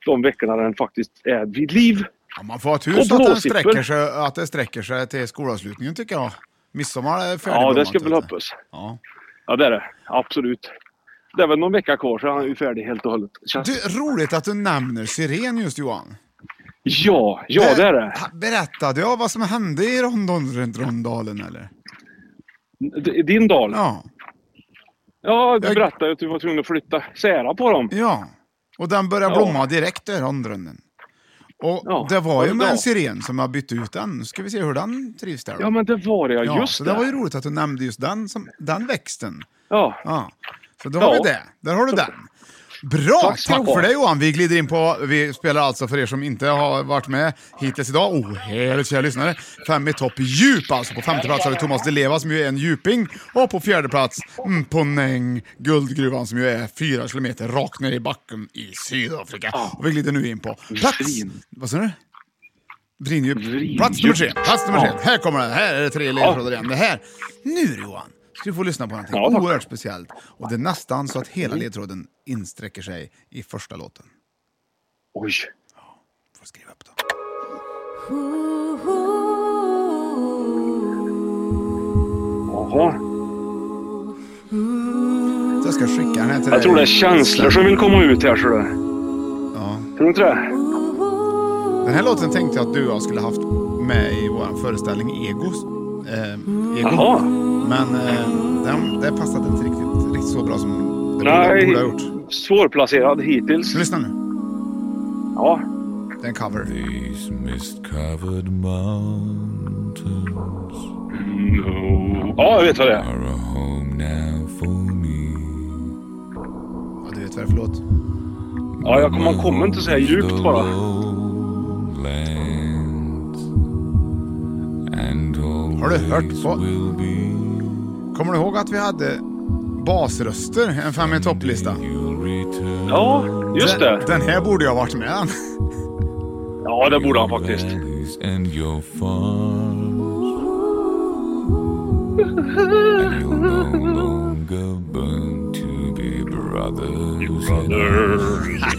de veckorna den faktiskt är vid liv.
ja man får ha
Och
tur så att, den
blåsippor.
sträcker sig, att det sträcker sig till skolavslutningen tycker jag. Midsommar är färdigblommat.
Ja, det ska
vet
väl
du.
hoppas.
Ja.
Ja, det är det. Absolut. Det är väl någon vecka kvar så är han ju färdig helt och hållet. Känns...
Du, roligt att du nämner syren just Johan.
Ja, ja det är det.
Berättade jag vad som hände i Rondon runt Rondalen eller?
D- Din dal.
Ja.
Ja, du
Jag-
berättade ju att du var tvungen att flytta sära på dem.
Ja, och den började
Ja.
blomma direkt där, rondrönnen. Och
Ja,
det var
vad
ju med
bra.
en siren som jag bytte ut den. Nu ska vi se hur den trivs där. då.
Ja, men det var det ja.
Ja,
just
så
det.
det. var ju roligt att du nämnde just den, som, den växten.
Ja.
Ja. Så då
Ja.
har vi det. Där har du den. Bra! Tack,
Tack ska du ha.
för det Johan. Vi glider in på, vi spelar alltså för er som inte har varit med hittills idag, oh herre kära lyssnare, fem i topp djup alltså. På femte plats har vi Thomas Deleva som ju är en djuping och på fjärde plats mm, på Neng, Guldgruvan som ju är fyra kilometer rakt ner i backen i Sydafrika.
Ah.
Och vi glider nu in på plats...
Vrin.
Vad sa du? Vrindjup.
Vrindjup.
Plats nummer tre. Plats nummer tre.
Ja.
Här kommer den. Här är det tre ledtrådar igen. Det här. Nu Johan, ska du få lyssna på någonting
Ja, tack. Mm.
oerhört speciellt. Och det är nästan så att hela ledtråden insträcker sig i första låten.
Oj.
Får skriva upp den.
Jaha.
Så jag ska skicka den här till dig.
Jag tror det är känslor som vill komma ut här, ser du. Ja. Tror du inte det?
Den här låten tänkte jag att du och jag skulle haft med i vår föreställning Egos. Eh, Ego.
Jaha.
Men eh, den, det passade inte riktigt, riktigt så bra som det borde,
Nej.
borde ha gjort. Mm.
Svårplacerad hittills.
Så lyssna nu.
Ja.
Det är en cover.
These mist covered mountains
Ja, jag vet vad det är.
are a home now for me.
Ja, du vet vad det är för låt.
Ja, jag, man kommer inte så här djupt bara.
Lowlands and
Har du hört
always
på-
will be.
Kommer du ihåg att vi hade basröster, en fem i topplista?
You'll return
Ja, just det.
Den här borde jag ha varit med
Ja, det borde han faktiskt.
valleys and your farms. and you'll no longer burn to be brothers.
Eh,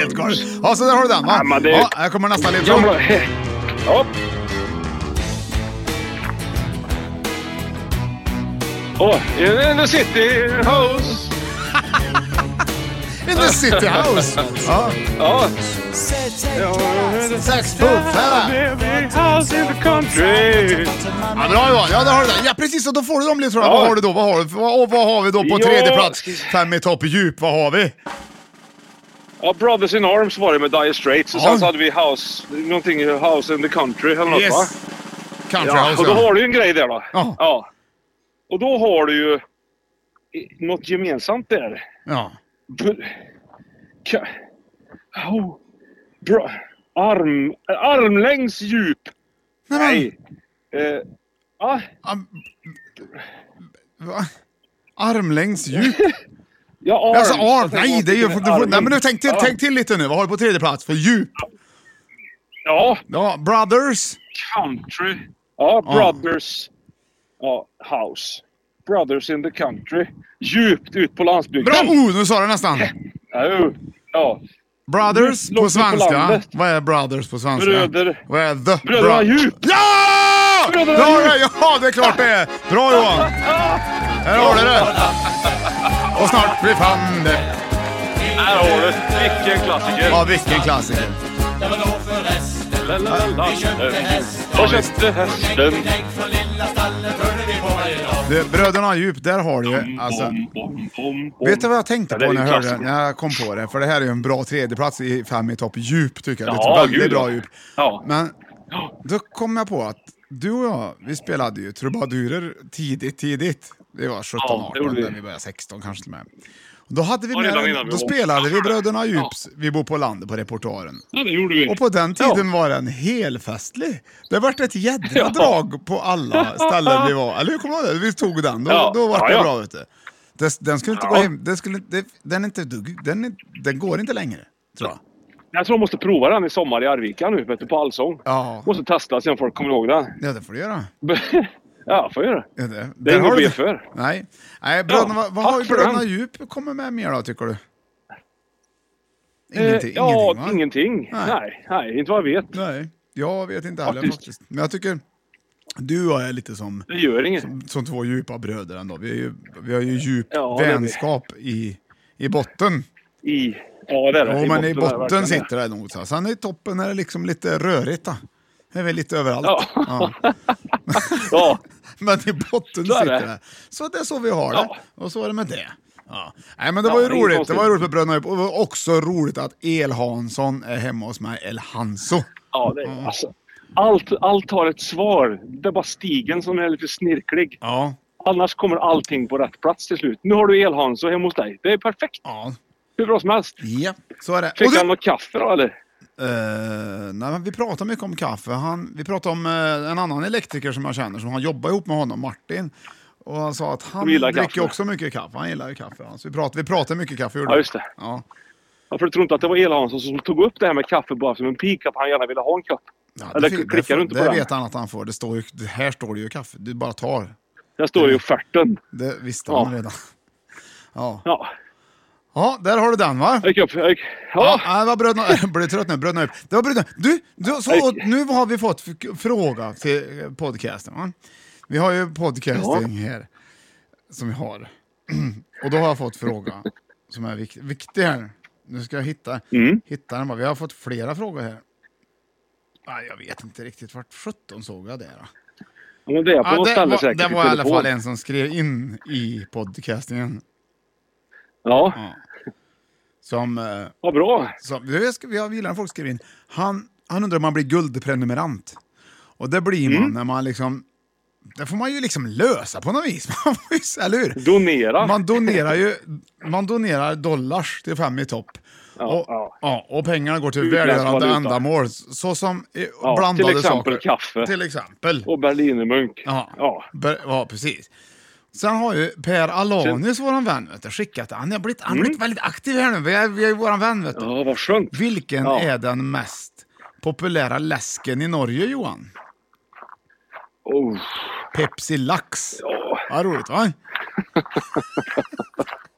Helt galet. Ja, så där har du den va?
Ja, men det-
Ja, här kommer nästa ledtråd.
Gamla... Ja. Åh, in the city house.
In the city house. Ja,
Ja.
sex puff. här. Ja, bra Johan, ja där har du den. Ja precis, och då får du dem ledtrådarna.
Ja.
Vad har du då? Vad har, du? vad, och vad har vi då på
Ja.
tredje plats? Fem i topp djup, vad har vi?
Ja, Brothers in Arms var det med Dire Straits. Och
Ja.
sen så hade vi House, någonting House in the Country eller något va?
Yes. Countryhouse,
och då
ja.
har du ju en grej där då.
Ja.
ja. Och då har du ju i- något gemensamt där.
Ja.
Br- ka- oh, bra. Arm, armlängds djup.
Nej, men-
Nej. Eh, ah,
Va? Armlängds djup?
ja, arm.
Alltså arm,
Jag tänkte
nej det är ju...
arm.
Du får, nej men nu, tänk, till,
Ja.
tänk till lite nu, vad har du på tredje plats för djup?
Ja,
Ja, Brothers.
country. Ja, brothers. Ja, house. Brothers in the country. Djupt ut på landsbygden.
Bra! Oh, nu sa du nästan.
Ja, jo. ja.
Brothers
Långt
på
ut på
svenska.
landet.
Vad är brothers på svenska?
Bröder.
Vad är the?
Bröderna
bro-
Djup.
Ja!
Bröderna
Då har du-
Djup.
Ja, det är klart det är. Bra Johan! Här har du det. Och snart blir fan det.
Här har du Vilken klassiker.
Ja, vilken klassiker.
Jag köpte hästen.
Du, Bröderna Djup, där har du ju. Alltså,
Bom, bom, bom.
vet du vad jag tänkte
Ja, det är
på när jag
ju
hörde
klassiker.
när jag kom på det? För det här är ju en bra tredjeplats i fem i topp djup tycker jag. det
Ja,
är ett Liksom, väldigt
gud, ja.
bra djup.
Ja.
Men då kom jag på att du och jag, vi spelade ju trubadurer tidigt, tidigt. Vi var 17,
Ja, det
18,
gjorde vi.
när vi började 16 kanske till och med. Och Då, hade vi
Ja, redan
med,
innan
då
vi var-
spelade vi Bröderna Djups, Vi bor på landet på repertoaren.
Ja, det gjorde vi.
Och på den tiden
Ja.
var den helfestlig. Det vart ett jädra
Ja.
drag på alla ställen vi var. Eller hur kommer du ihåg det? Vi tog den. Då,
Ja.
då var det
Ja, ja.
bra ute. Den, den skulle inte gå
Ja.
hem. Den, skulle, inte- den, är inte, dugg- den, är- den går inte längre, tror jag.
Jag tror jag måste prova den i sommar i Arvika nu, vet du, på Allsång.
Ja.
Måste testa sen folk kommer ihåg den.
Ja, det får du göra.
ja, får jag göra.
Ja, det
Det
där
är
har
inget
du-
B för.
Nej. Nej bröderna, vad, vad
tack
har ju
för
Bröderna
den.
Djup kommit med mer då, tycker du?
Eh,
Ingenting,
ja,
ingenting, va?
ingenting.
Nej.
Nej. nej, inte vad jag vet.
Nej, jag vet inte heller
Faktiskt.
faktiskt. Men jag tycker du och jag är lite som...
Det gör inget.
som två djupa bröder ändå. Vi, är ju, vi har ju djup
Ja, det är vi.
vänskap i, i botten.
I... Ja, det är det.
Jo, men i
är det
botten
verkligen det.
sitter det nog. så. Sen i toppen är det liksom lite rörigt. Då. Det är väl lite överallt.
Ja.
Ja.
Ja,
Men i botten
Så är
sitter
det.
det. Så det är så vi har det.
Ja.
Och så är det med det. Ja. Nej, men det var ju
Ja, det är
roligt. Det
konstigt.
var ju roligt med Bröderna Djup. Och det var också roligt att El Hansson är hemma hos mig. El Hanso.
ja det är... Alltså, allt, allt har ett svar. Det är bara stigen som är lite snirklig.
Ja.
Annars kommer allting på rätt plats till slut. Nu har du Elhans och hemma hos dig. Det är perfekt.
Ja.
Hur bra som helst.
Ja, så är det. Och
Fick
du-
han något kaffe då eller?
Eh, nej, men vi pratar mycket om kaffe. Han, vi pratar om eh, en annan elektriker som jag känner, som han jobbar ihop med honom, Martin. Och han sa att han
Som gillar
dricker
kaffe.
också mycket kaffe. Han gillar ju kaffe. ja. Så vi pratar, vi pratar mycket kaffe. gjorde
Ja,
vi.
just det.
Ja.
Ja, för jag tror inte att det var Elhansson som tog upp det här med kaffe bara som en pik att han gärna ville ha en kopp.
Ja,
Eller
fi-
klickar du inte
det
på
Det
den?
vet han att han får. Det står ju, det här står det ju kaffe. Du bara tar.
Där står det ju offerten.
Det visste
Ja.
han redan. Ja.
Ja,
ja, där har du den va?
jag gick upp. Jag gick...
Ja,
Ja,
nej, det var bröderna... Jag blir trött nu. Bröderna upp. Det var bröderna... Du, du så, nu har vi fått f- fråga till eh, podcasten. Va? Vi har ju podcasting här som vi har. Och då har jag fått fråga som är viktig, viktig här. Nu ska jag hitta,
Mm.
hitta den. bara. Vi har fått flera frågor här. Nej, jag vet inte riktigt. Vart 17 såg jag det? Då?
men det är på
Ja,
något
det,
ställe
var,
säkert.
det
i
var i alla
telefon.
fall en som skrev in i podcastingen.
Ja,
Som... Eh,
vad bra.
Så, jag, ska, jag gillar när folk skriver in. Han, han undrar om man blir guldprenumerant. Och det blir
Mm.
man när man liksom... Det får man ju liksom lösa på något vis. Man får ju- Eller hur?
Donera.
Man donerar ju man donerar dollars till Fem i topp. och,
ja.
ja, och pengarna går till
Utländsk
välgörande
valuta.
ändamål. Så som eh,
Ja,
blandade
till exempel
saker.
kaffe.
Till exempel.
Och berlinermunk.
Ja,
ja.
Ber- ja precis. Sen har ju Per Alanius, våran vän, vet du, skickat. Han har blivit, han
Mm.
har blivit väldigt aktiv här nu. Vi är, vi är ju våran vän, vet du.
Ja, vad skönt.
Vilken
Ja.
är den mest populära läsken i Norge, Johan?
Oh.
Pepsi Lax. Ja. roligt, va?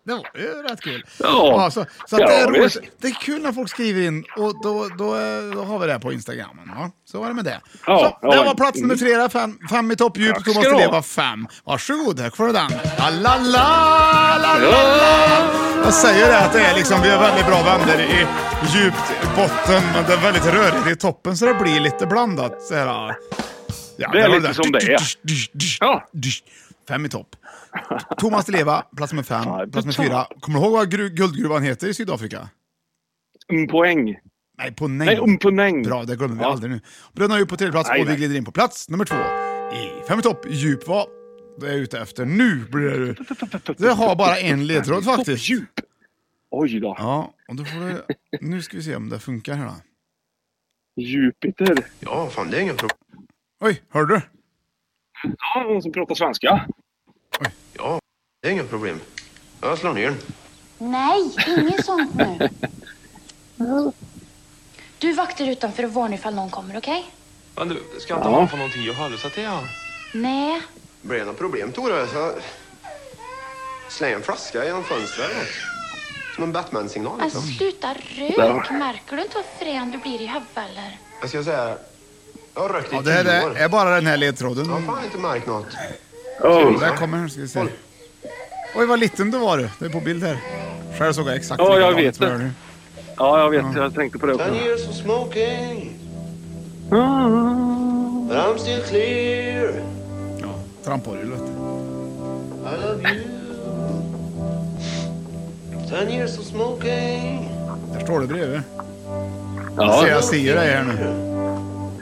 Det var ju rätt kul.
Ja.
så så att
Ja,
det, är
visst.
roligt. det är kul när folk skriver in och då, då, eh, då har vi det på Instagram. Va? Så var det med det.
Ja,
så, det
ja.
var plats nummer tre, där, fem, fem i toppdjup.
Tack ska
Thomas
du ha.
Di var fem. Varsågod, här får du den. Alalala! Jag säger det att det är liksom, vi är väldigt bra vänner i djupt botten, men det är väldigt rörigt i toppen så det blir lite blandat. Så här, Ja,
Det är
där var
lite
där.
som det är.
Dysch, dysch, dysch,
Ja.
dysch. Fem i topp. Thomas Di Leva, plats nummer fem,
Ja,
plats nummer
det-
fyra. Kommer du ihåg vad gru- guldgruvan heter i Sydafrika?
Mm, poäng.
Nej, på Neng.
Nej, um, poäng.
Bra, det glömmer vi
Ja.
aldrig nu. Bröderna är ju på tredje plats
Nej,
och vi
nej.
glider in på plats nummer två. i Fem i topp djupvad. Det är jag ute efter. Nu blir det... Det har bara en ledtråd faktiskt.
Djup. Oj då.
Ja, och då får du... Nu ska vi se om det funkar här då.
Jupiter.
Ja, Oh, fan det är inga problem.
Oj, hörde du?
Ja, någon som pratar svenska.
Ja, det är inga problem. Jag slår ner den.
Nej, inget sånt nu. Du vaktar utanför och varnar ifall någon kommer, okej?
Men du, ska jag inte ha på någonting att hålla sig till? Ja?
Nej.
Blir det något problem Tore? Så... Släng en flaska genom fönstret. eller något. Som en Batman-signal
Alltså
liksom.
sluta rök. Märker du inte hur frän du blir i huvudet eller?
Jag ska säga, jag har rökt i
Ja, det här
tio
det
år.
är bara den här ledtråden.
Jag har fan inte märkt något.
Oh.
Där kommer den, ska vi se. Oj, vad liten du var du. Det är på bild här. Själv såg jag exakt
Ja, jag
likadant
vet
som
det.
gör nu.
Ja, jag vet. Jag tänkte på det också.
Ten years of smoking,
Ah.
but I'm still clear.
Ja, Tramporgel, vet du.
I love you. Ten years of smoking.
Där står det bredvid. Så
Ja,
jag ser dig här nu.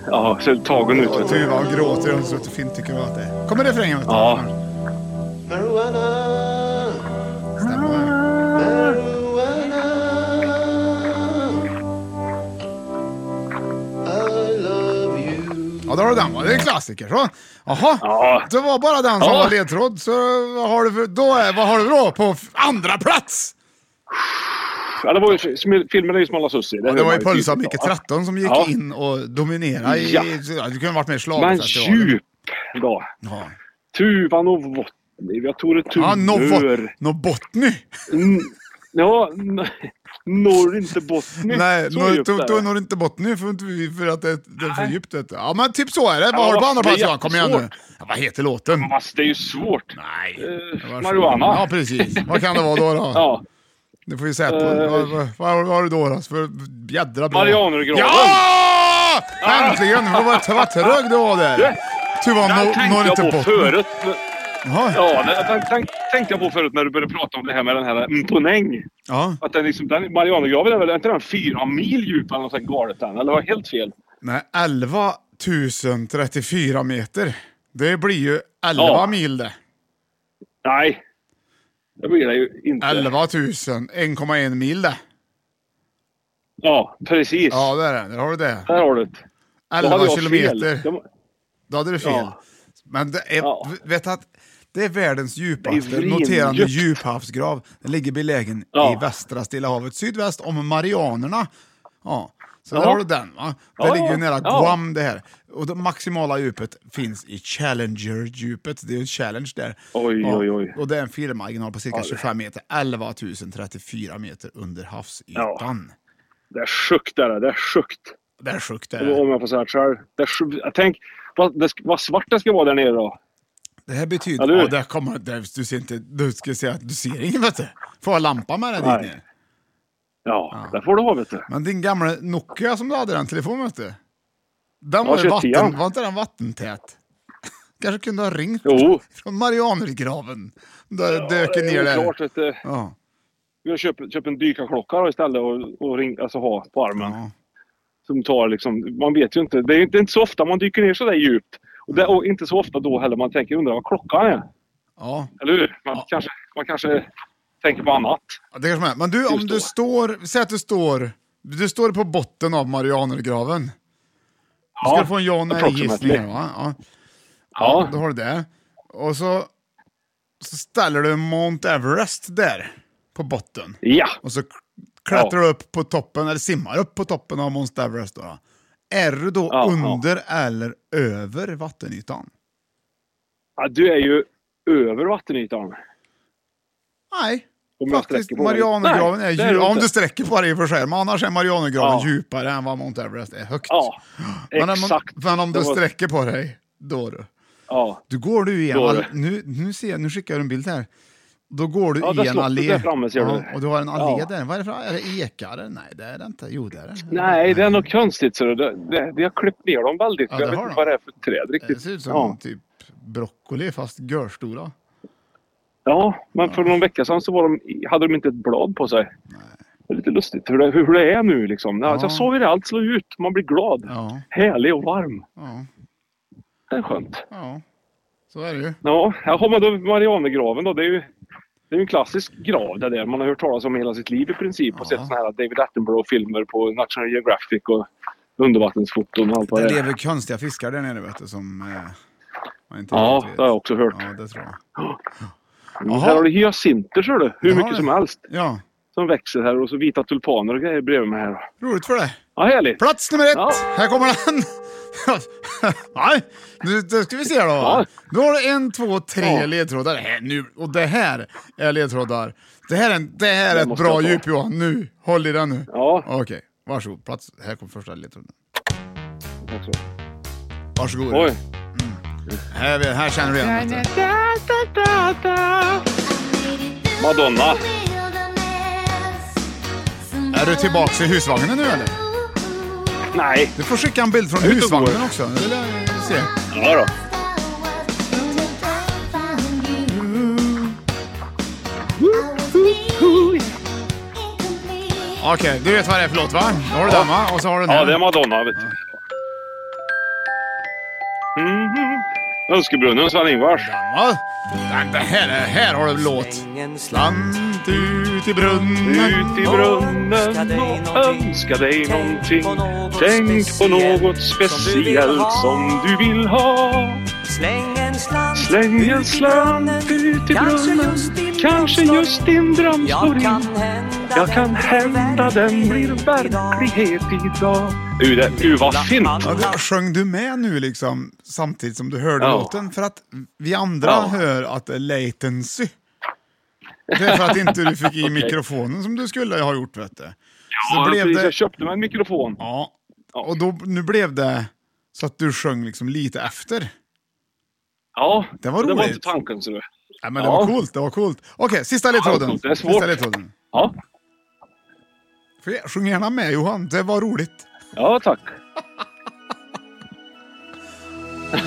ja så tagen ut. vet du.
Tur vad han gråter och slutar fint tycker jag att det är. Kommer refrängen vet du?
Ja.
Marijuana.
Stämmer det?
Marijuana. I love you.
Ja, där har du den va. Det är en klassiker. Så. Jaha,
Ja.
det var bara den som
Ja.
var ledtråd. Så vad har du, för, då är, vad har du då på f- andra plats?
Ja, det var ju, sm- filmen är ju typ- Smala Sussie.
Ja, det
hör
var ju
man tydligt.
Pölsa Micke 13 som gick
Ja.
in och dominerade. I,
Ja.
Du kunde ha varit med i
Men
schlagerfestivalen.
djup då.
Ja.
Tuvan och Vottniv. Jag tror det
Ja,
Tuvor.
Novotny.
Mm. Ja, n- når inte Botny.
Nej,
Så
nå-
djupt
tog
är
tog
det.
nog inte Botny för, inte vi- för att det, det är för djupt. Vet du. Ja, men typ så är det. Vad
Ja,
har du på andra
det är
plats Johan? Kom igen nu.
jättesvårt.
Ja, vad heter låten?
Fast det är ju svårt.
Nej.
Eh,
Det var så-
marijuana.
Ja, precis. Vad kan det vara då? då?
Ja.
Du får ju säga på.
Eh.
Vad, vad, vad har du då? då? För jädra bra.
Marianergraven.
Ja! Äntligen! Vad var- vad trög du var där. Tuvan
Den
når-
tänkte
når
jag
inte
på
botten.
förut.
Jaha.
Ja, den, den, den tänkte jag på förut när du började prata om det här med den här Mponäng.
Ja.
Att den liksom, den Marianergraven är väl, är inte den fyra mil djup eller något sånt galet den? Eller var jag helt fel?
Nej, 11 034 meter. Det blir ju 11
Ja.
mil det.
Nej. Det blir det ju inte.
11 000, 1,1 mil det.
Ja, precis.
Ja, det är det. Där har du det.
Där har du det. Då
11
hade jag
kilometer.
fel. Det var-
Då hade du fel.
Ja.
Men det är,
Ja.
vet du att det är världens
Det
djupaste
är
noterande
vrindjupt.
djuphavsgrav. Den ligger belägen
Ja.
i västra Stilla havet, sydväst om Marianerna. Ja. Så
Ja.
där har du den. Va? Det
Ja,
ligger ju
ja.
nära
Ja.
Guam det här. Och det maximala djupet finns i Challenger-djupet. Det är ju en challenge där.
Oj,
ja.
oj, oj.
Och det är en felmarginal på cirka 25 meter. 11 034 meter under havsytan.
Det är sjukt det där. Det är sjukt.
Det är sjukt. Det
Om-
är.
Om jag får säga det själv. Det är sjukt. Jag Tänk vad, det, sk- vad svart det ska vara där nere då.
Det här
Ja,
betyder...
du-
Ja, där kommer, där, du ser inte... Du ska se att du ser ingen vet du. Får ha lampan med dig dit
Nej.
ner.
Ja, det får du ha vet du.
Men din gamla Nokia som du hade den telefonen vet du. Den
Ja,
var ju
21.
vatten... Var inte den vattentät? Kanske kunde ha ringt
Jo.
från Marianergraven. Där ja, dök
Det är
ner där.
oklart, vet du.
Ja.
Vi har köpt, köpt en dykarklocka då istället och, och ring, alltså, ha på armen.
Ja.
Som tar liksom, man vet ju inte. Det är inte, det är inte så ofta man dyker ner så där djupt. Och, det, och inte så ofta då heller man tänker undrar vad klockan är.
ja.
Eller hur? Man, kanske, man kanske tänker på annat.
Ja, det kanske man är. Men du, om du står... Säg att du står... Du står på botten av Marianergraven. Du
Ja,
ska få en ja och nej-gissning
approximately.
här va? Ja.
Ja.
Då har du det. Och så, så ställer du Mount Everest där på botten.
Ja.
Och så k- klättrar
Ja.
du upp på toppen, eller simmar upp på toppen av Mount Everest. Då. då. Är du då
Ja, ja.
under eller över vattenytan?
ja. Du är ju över vattenytan.
Nej.
Om jag
Faktiskt,
sträcker på mig.
Marianergraven är
Nej, det är
djup.
det
Om
inte.
du sträcker på dig i och för sig. Men annars är Marianergraven
Ja.
djupare än vad Mount Everest är högt.
Ja,
men, om,
exakt.
men om du
Det var-
sträcker på dig, då du.
Ja.
Du går du i en
Då är
all...
det.
nu, nu, ser jag, nu skickar jag en bild här. Då går du
Ja, där
i en
slottet
allé.
där framme ser du.
Ja, och du har en allé
Ja.
där. Vad är det för Är det ekare? Nej, det är det inte. Jo, det är det.
Nej, det är något konstigt. Så det, det, vi har klippt ner dem väldigt.
Ja, det
jag vet
har
inte
de.
vad det är för träd riktigt.
Det ser ut som
ja.
typ broccoli fast görstora.
ja, men för någon vecka sedan så var de, hade de inte ett blad på sig. Det är lite lustigt hur det, hur det är nu liksom. Ja.
Ja.
Jag såg hur allt slår ut. Man blir glad.
Ja.
Härlig och varm.
ja.
det är skönt.
Ja, så är det ju.
Ja, här har man då Marianergraven då. Det är ju det är ju en klassisk grav det där man har hört talas om hela sitt liv i princip. Och sett såna här David Attenborough-filmer på National Geographic och undervattensfoton och allt vad
Det
det är.
lever konstiga fiskar där nere vet du som eh, man inte
Ja,
riktigt
det har jag också hört.
Ja, det tror jag.
Mm, Här har du hyacinter ser du. Hur
Jaha,
mycket som
det-
helst.
Ja,
Som växer här och så vita tulpaner och grejer bredvid mig här.
roligt för dig.
Ja, härligt.
Plats nummer ett,
Ja.
här kommer den. Nej, nu då ska vi se då.
Ja.
Nu har du en, två, tre
Ja.
ledtrådar här nu. Och det här är ledtrådar. Det här är, en, det här
Det
är ett
måste
bra
jag ta.
djup Johan, nu. Håll i den nu.
Ja.
Okej, varsågod. Plats, här kommer första ledtråden.
Också.
Varsågod.
Oj.
Här, är- här känner du igen vet du.
Madonna.
Är du tillbaka i husvagnen nu eller?
Nej.
Du får skicka en bild från
Ut och
husvagnen
går.
också. Det vill jag se.
Ja då.
Okej, du vet vad det är för låt va? Då har du
Ja.
den va? Och så har du den
Ja,
här.
det är Madonna. Vet du. Mhm. Önskebrunnen, Sven-Ingvars.
Ja, men det här, det här har du låt. Slant ut i brunnen.
Ut i brunnen och önska dig någonting. Tänk på något speciellt som du vill ha. Släng en slant ut i brunnen. Kanske just din dröm slår in. Jag kan hända den blir verklighet idag. Du, det, gud vad fint!
Ja, du, sjöng du med nu liksom samtidigt som du hörde
Ja.
låten? För att vi andra
Ja.
hör att det är latency. Det är för att inte du fick i mikrofonen som du skulle ha gjort vet du.
Ja,
Så blev
precis,
det...
Jag köpte mig en mikrofon.
Ja, och då, nu blev det så att du sjöng liksom lite efter.
Ja,
Det var
Det var
roligt.
inte tanken. Så du.
Ja, men det
Ja.
var coolt, det var coolt. Okej, sista ledtråden.
coolt, det är svårt.
Sista ledtråden.
Ja,
Får jag- Sjung gärna med Johan, det var roligt.
ja tack.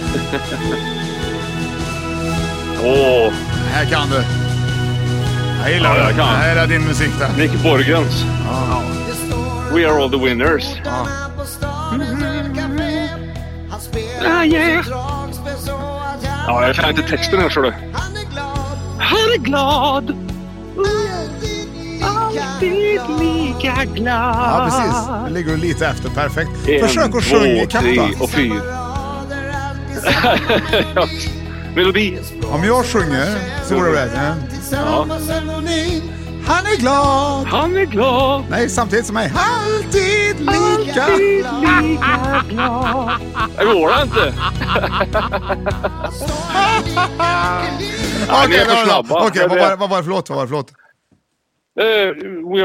Åh,
Det här kan du. Jag gillar
Ja, jag
det.
kan.
Det här är din musik det.
Nick Borgens. We are all the winners.
Mm.
Ah, yeah.
Mm.
Ja, jag kan inte texten här ser du. Han är glad. Alltid lika glad.
Ja, precis. Det ligger du lite efter. Perfekt.
Ah. En,
Försök att sjunga
två,
ikapp
tre
då.
och fyra. Melodi.
Om jag sjunger så går det rätt. Ja.
Ja.
Han är glad.
Han är glad.
Nej, samtidigt som mig. Alltid lika.
Alltid lika glad. Det går det inte.
Okej, vi
ni är
har
för
den.
snabba.
Okej,
Jag
vad var-
vet.
vad var det för låt? Vad var det för låt?
Eh, we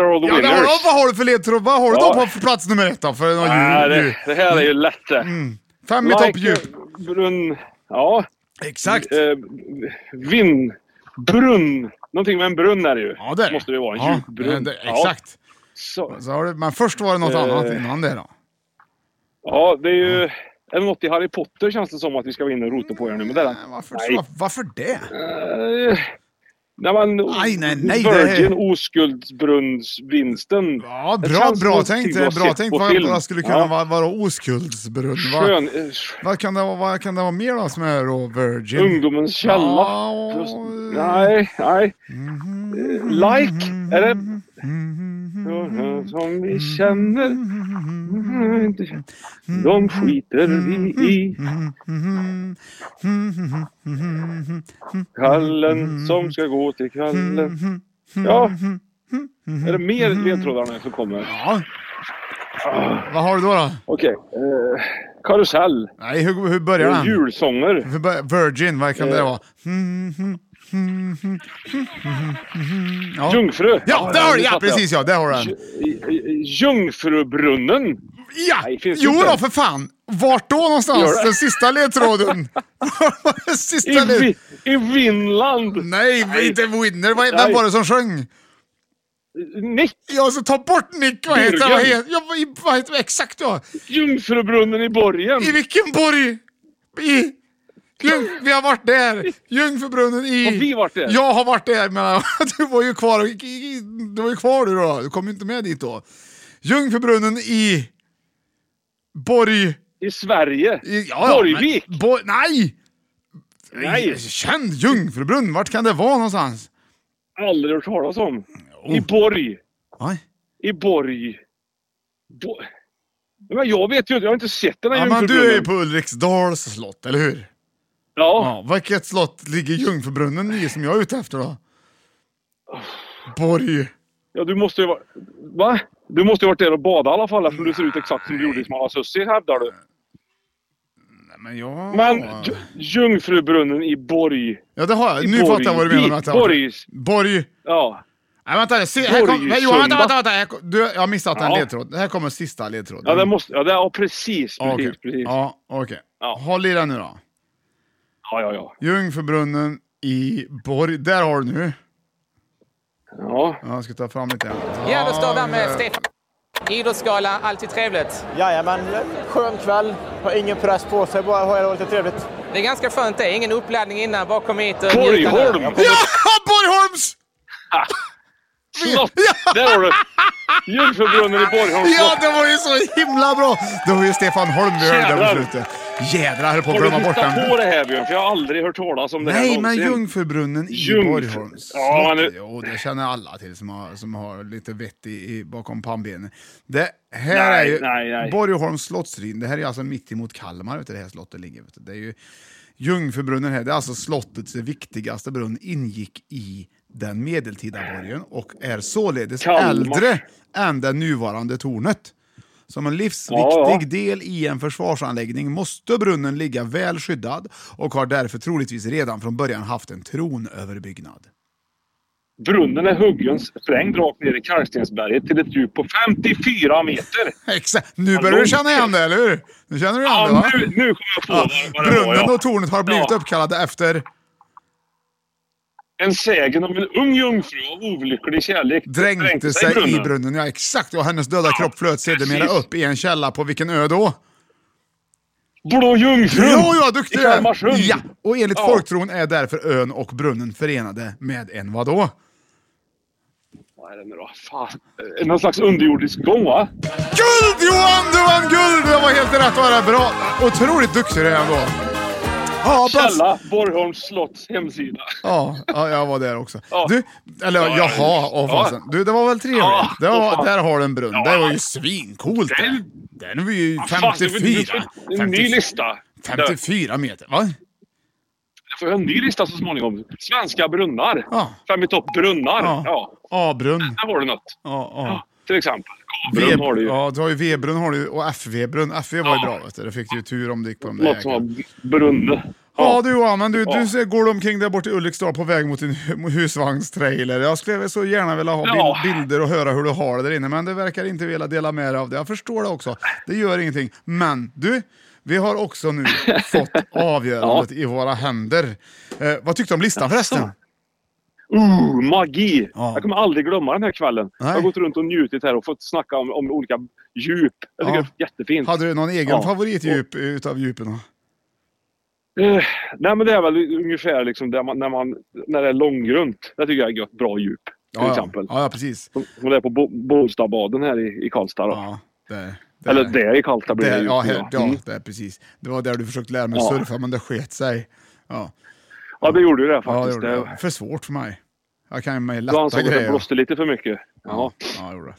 are all the
Ja, det har
winners.
du. Vad har du för ledtråd? Vad har du
Ja.
då på för plats nummer ett då? För någon
Nej,
djur,
det,
djur.
det här är ju lätt
Mm.
det.
Fem i topp djup.
Brunn... Ja.
Exakt.
Eh, vinn... Brunn... Någonting med en brunn är det ju.
Ja, det är
måste det vara. En
Ja, eh,
djup brunn.
det-
Ja.
Exakt.
Så,
Så har du, men först var det något
Eh.
annat innan det då.
ja, det är ju... Är det något i Harry Potter känns det som att vi ska vara inne och rota på här nu. Men det är det.
Nej, Eh, Varför,
Nej.
så- varför det?
Eh, När man...
Aj, nej, nej, det här-
Virgin oskuldsbrunnsvinsten.
Ja,
Det
bra,
känns
bra
någonting
tänkt.
vi har
Bra
sett
tänkt.
på
Vad,
film.
vad skulle kunna
Ja.
vara, vara oskuldsbrunn? Vad,
Skön... eh,
vad, kan det, vara- vad kan det vara mer då som är då virgin?
Ungdomens källa.
Ja,
Plus,
eh.
nej, nej. Eh, Like, är det? Som vi känner. Mm-hmm. De skiter vi i. Kallen som ska gå till kallen. Ja. Är det mer ledtrådar nu som kommer?
Ja. Vad har du då? då?
Okej. eh, karusell.
Nej, hur, hur börjar
Och
den?
julsånger.
Hur bör- Virgin, vad kan det
Eh.
vara? Ja.
Jungfru.
Ja, där har du,
nu
ja
fattar jag.
precis ja, där har du den.
J- J- Jungfrubrunnen.
Ja!
Nej, finns
Jo
inte.
då, för fan! Vart då någonstans?
Gör det.
Den sista ledtråden. Den sista
I,
led...
vi, I Finland!
Nej, inte Winner. Vad- Vem
Nej.
var det som sjöng?
Nick!
Ja, så ta bort Nick. Vad heter,
Jürgen.
vad heter, ja, vad- i- vad heter Exakt ja.
Jungfrubrunnen i Borgen!
I vilken borg? I... Ljung, vi har varit där. Ljungförbrunnen i...
Har vi varit där?
Jag har varit där menar jag. Du var ju kvar. Du var ju kvar du då. Du kom ju inte med dit då. Ljungförbrunnen i... Borg...
I I Sverige?
Ja, ja,
Borgvik?
men- Bo nej!
Nej.
Känd Jungfrubrunn, vart kan det vara någonstans?
Aldrig hört talas om. I
Oh.
Borg.
Oj.
I Borg. Bo... Nej, Men jag vet ju inte, jag har inte sett den här
Ja, men du är
Jungfrubrunnen.
ju på Ulriksdals slott, eller hur?
Ja.
Ja, vilket slott ligger Jungfrubrunnen i som jag är ute efter då? Borg.
ja, du måste ju vara... Va? Du måste ju varit där och badat i alla fall eftersom du ser ut exakt som du gjorde i Smala Sussie, hävdar du.
Nej, men jag...
Men J- Jungfrubrunnen i Borg.
Ja, det har jag. Nu
Borg.
fattar jag vad du menar med att jag...
Borgs.
Borg.
Ja.
Nej, vänta. nu, Se, här
Borg,
kom, nej, Johan, vänta,
Sunda.
vänta, vänta. Här kom, du, jag har missat en
Ja.
ledtråd. Här kommer sista ledtråden.
Ja, det måste... Ja, det... ja precis.
Mm. Ja,
Precis,
okej.
precis. Ja,
Ja, okej.
Ja.
Håll i den nu då.
ja, ja.
Jungfrubrunnen i Borg. Där har du nu.
Ja.
Ja, Jag ska ta fram lite.
Ja, då står vi här med Stefan. Idrottsgala, alltid trevligt.
Jajamän, skön kväll. Har ingen press på sig, bara har det lite trevligt.
Det är ganska skönt det, ingen uppladdning innan, bara kom hit och
Borgholm!
njuta nu.
Ja, Borgholms!
Slott! Där har du! Jungfrubrunnen i Borgholm
Ja,
slott.
det var ju så himla bra! Det var ju Stefan Holm vi hörde där
Jävlar.
på slutet. Jädrar, jag höll på att
Har du
glömma bort
hittat
den.
på det här Björn? För jag har aldrig hört talas om det här
Nej, men
någonsin.
Jungfrubrunnen i
Jungfru-
Borgholms
Ja,
slott.
nu-
Jo, det känner alla till som har, som har lite vett i, i, bakom pannbenen. Det här
Nej,
är ju
nej, nej.
Borgholms slottsryn. Det här är alltså mitt emot Kalmar, vet du, det här slottet ligger. Vet du. Det är ju Jungfrubrunnen här, det är alltså slottets viktigaste brunn, ingick i den medeltida borgen och är således
Kalmar.
äldre än det nuvarande tornet. Som en livsviktig
Ja, ja.
del i en försvarsanläggning måste brunnen ligga väl skyddad och har därför troligtvis redan från början haft en tronöverbyggnad.
Brunnen är huggen, sprängd rakt ner i kalkstensberget till ett djup på 54 meter.
Exakt! Nu börjar du känna igen det, eller hur? Nu känner du igen det,
Ja,
va?
nu, nu kommer jag på
Ja,
det, vad det var,
brunnen
ja.
och tornet har blivit
Ja.
uppkallade efter
En sägen om en ung jungfru av olycklig kärlek
dränkte sig i brunnen. Ja, exakt! Och hennes döda kropp flöt sedermera
precis.
upp i en källa på vilken ö då?
Blå jungfrun!
Jo, ja, duktig
I
du
Kalmarsund!
är! Ja, och enligt
Ja.
folktron är därför ön och brunnen förenade med en vadå?
Vad är det nu då? Fan. Eh, Någon slags underjordisk gång va?
Guld Johan! Du vann guld! Det var helt rätt var det. Bra! Otroligt duktig du är ändå. Ja, plats.
Källa, Borgholms slotts hemsida.
Ja, ja, jag var där också.
Ja.
Du, eller
Ja,
jaha,
ja.
åh fasen. Du, det var väl trevligt?
Ja,
det
åh,
var,
fan.
där har du en brunn.
Ja.
Det var ju svincoolt det. Den var ju
Ja, fan, det var- det
54.
var En ny
50
lista.
54 meter, va?
Jag får en ny lista så småningom. Svenska brunnar.
Ja.
Fem i topp brunnar.
Ja.
Ja.
A-brunn.
Där har du något.
Ja, ja.
Ja. Till exempel.
V-
K-brunn har du ju.
Ja, du har ju V-brunn har du, ju, och FV-brunn. FV var ju
Ja.
bra vet du. Det fick du ju tur om du gick på de där
Något som
jäkla-
har brunne.
Ja du Johan, men du, du
Ja.
ser- går omkring där borta i Ulriksdal på väg mot din hu- husvagnstrailer. Jag skulle så gärna vilja ha
Ja.
bild, bilder och höra hur du har det där inne, men du verkar inte vilja dela med dig av det. Jag förstår det också. Det gör ingenting. Men du, vi har också nu fått avgörandet i våra händer. Eh, vad tyckte du om listan förresten?
Ooh, Uh, magi!
Ja.
Jag kommer aldrig glömma den här kvällen. Jag har
Nej.
gått runt och njutit här och fått snacka om, om olika djup. Jag tycker
Ja.
det är jättefint.
Hade du någon egen
Ja.
favoritdjup utav djupen? då?
Eh, nej men det är väl ungefär liksom där man, när, man, när det är långgrunt. Det tycker jag är gött, bra djup. Till
Ja, ja.
exempel.
ja, ja precis.
Som, som det är på Bo- Bålstabaden här i, i Karlstad. Då.
Ja, där, där.
Eller det i Karlstad blir det
Där,
ju.
ja, här, ja
Mm.
där, precis. Det var där du försökte lära mig
Ja.
surfa, men det sket sig. Ja.
ja, det gjorde ju det
Ja, det
faktiskt.
gjorde
det,
det. För svårt för mig. Jag kan ju med
Du ansåg
lätta
att jag
grejer.
blåste lite för mycket. Ja.
Ja, ja, det gjorde det.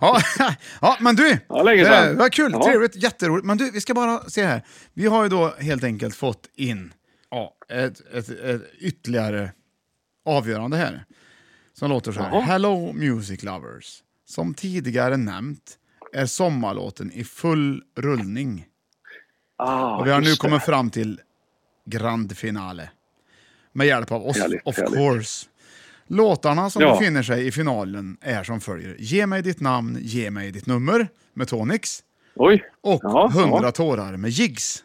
ja, ja, men du!
Ja, länge
eh,
sedan.
Det var kul,
Ja.
trevligt, jätteroligt. Men du, vi ska bara se här. Vi har ju då helt enkelt fått in ja, ett, ett, ett ytterligare avgörande här. Som låter så här. Hello Music Lovers. Som tidigare nämnt är sommarlåten i full rullning.
Ah,
Och vi har nu
just det.
kommit fram till grand finale. Med hjälp av oss,
Härligt,
of
härligt.
course. Låtarna som
Ja.
befinner sig i finalen är som följer. Ge mig ditt namn, ge mig ditt nummer med Tonix.
Oj!
Och
Ja,
100
ja.
tårar med Jigs.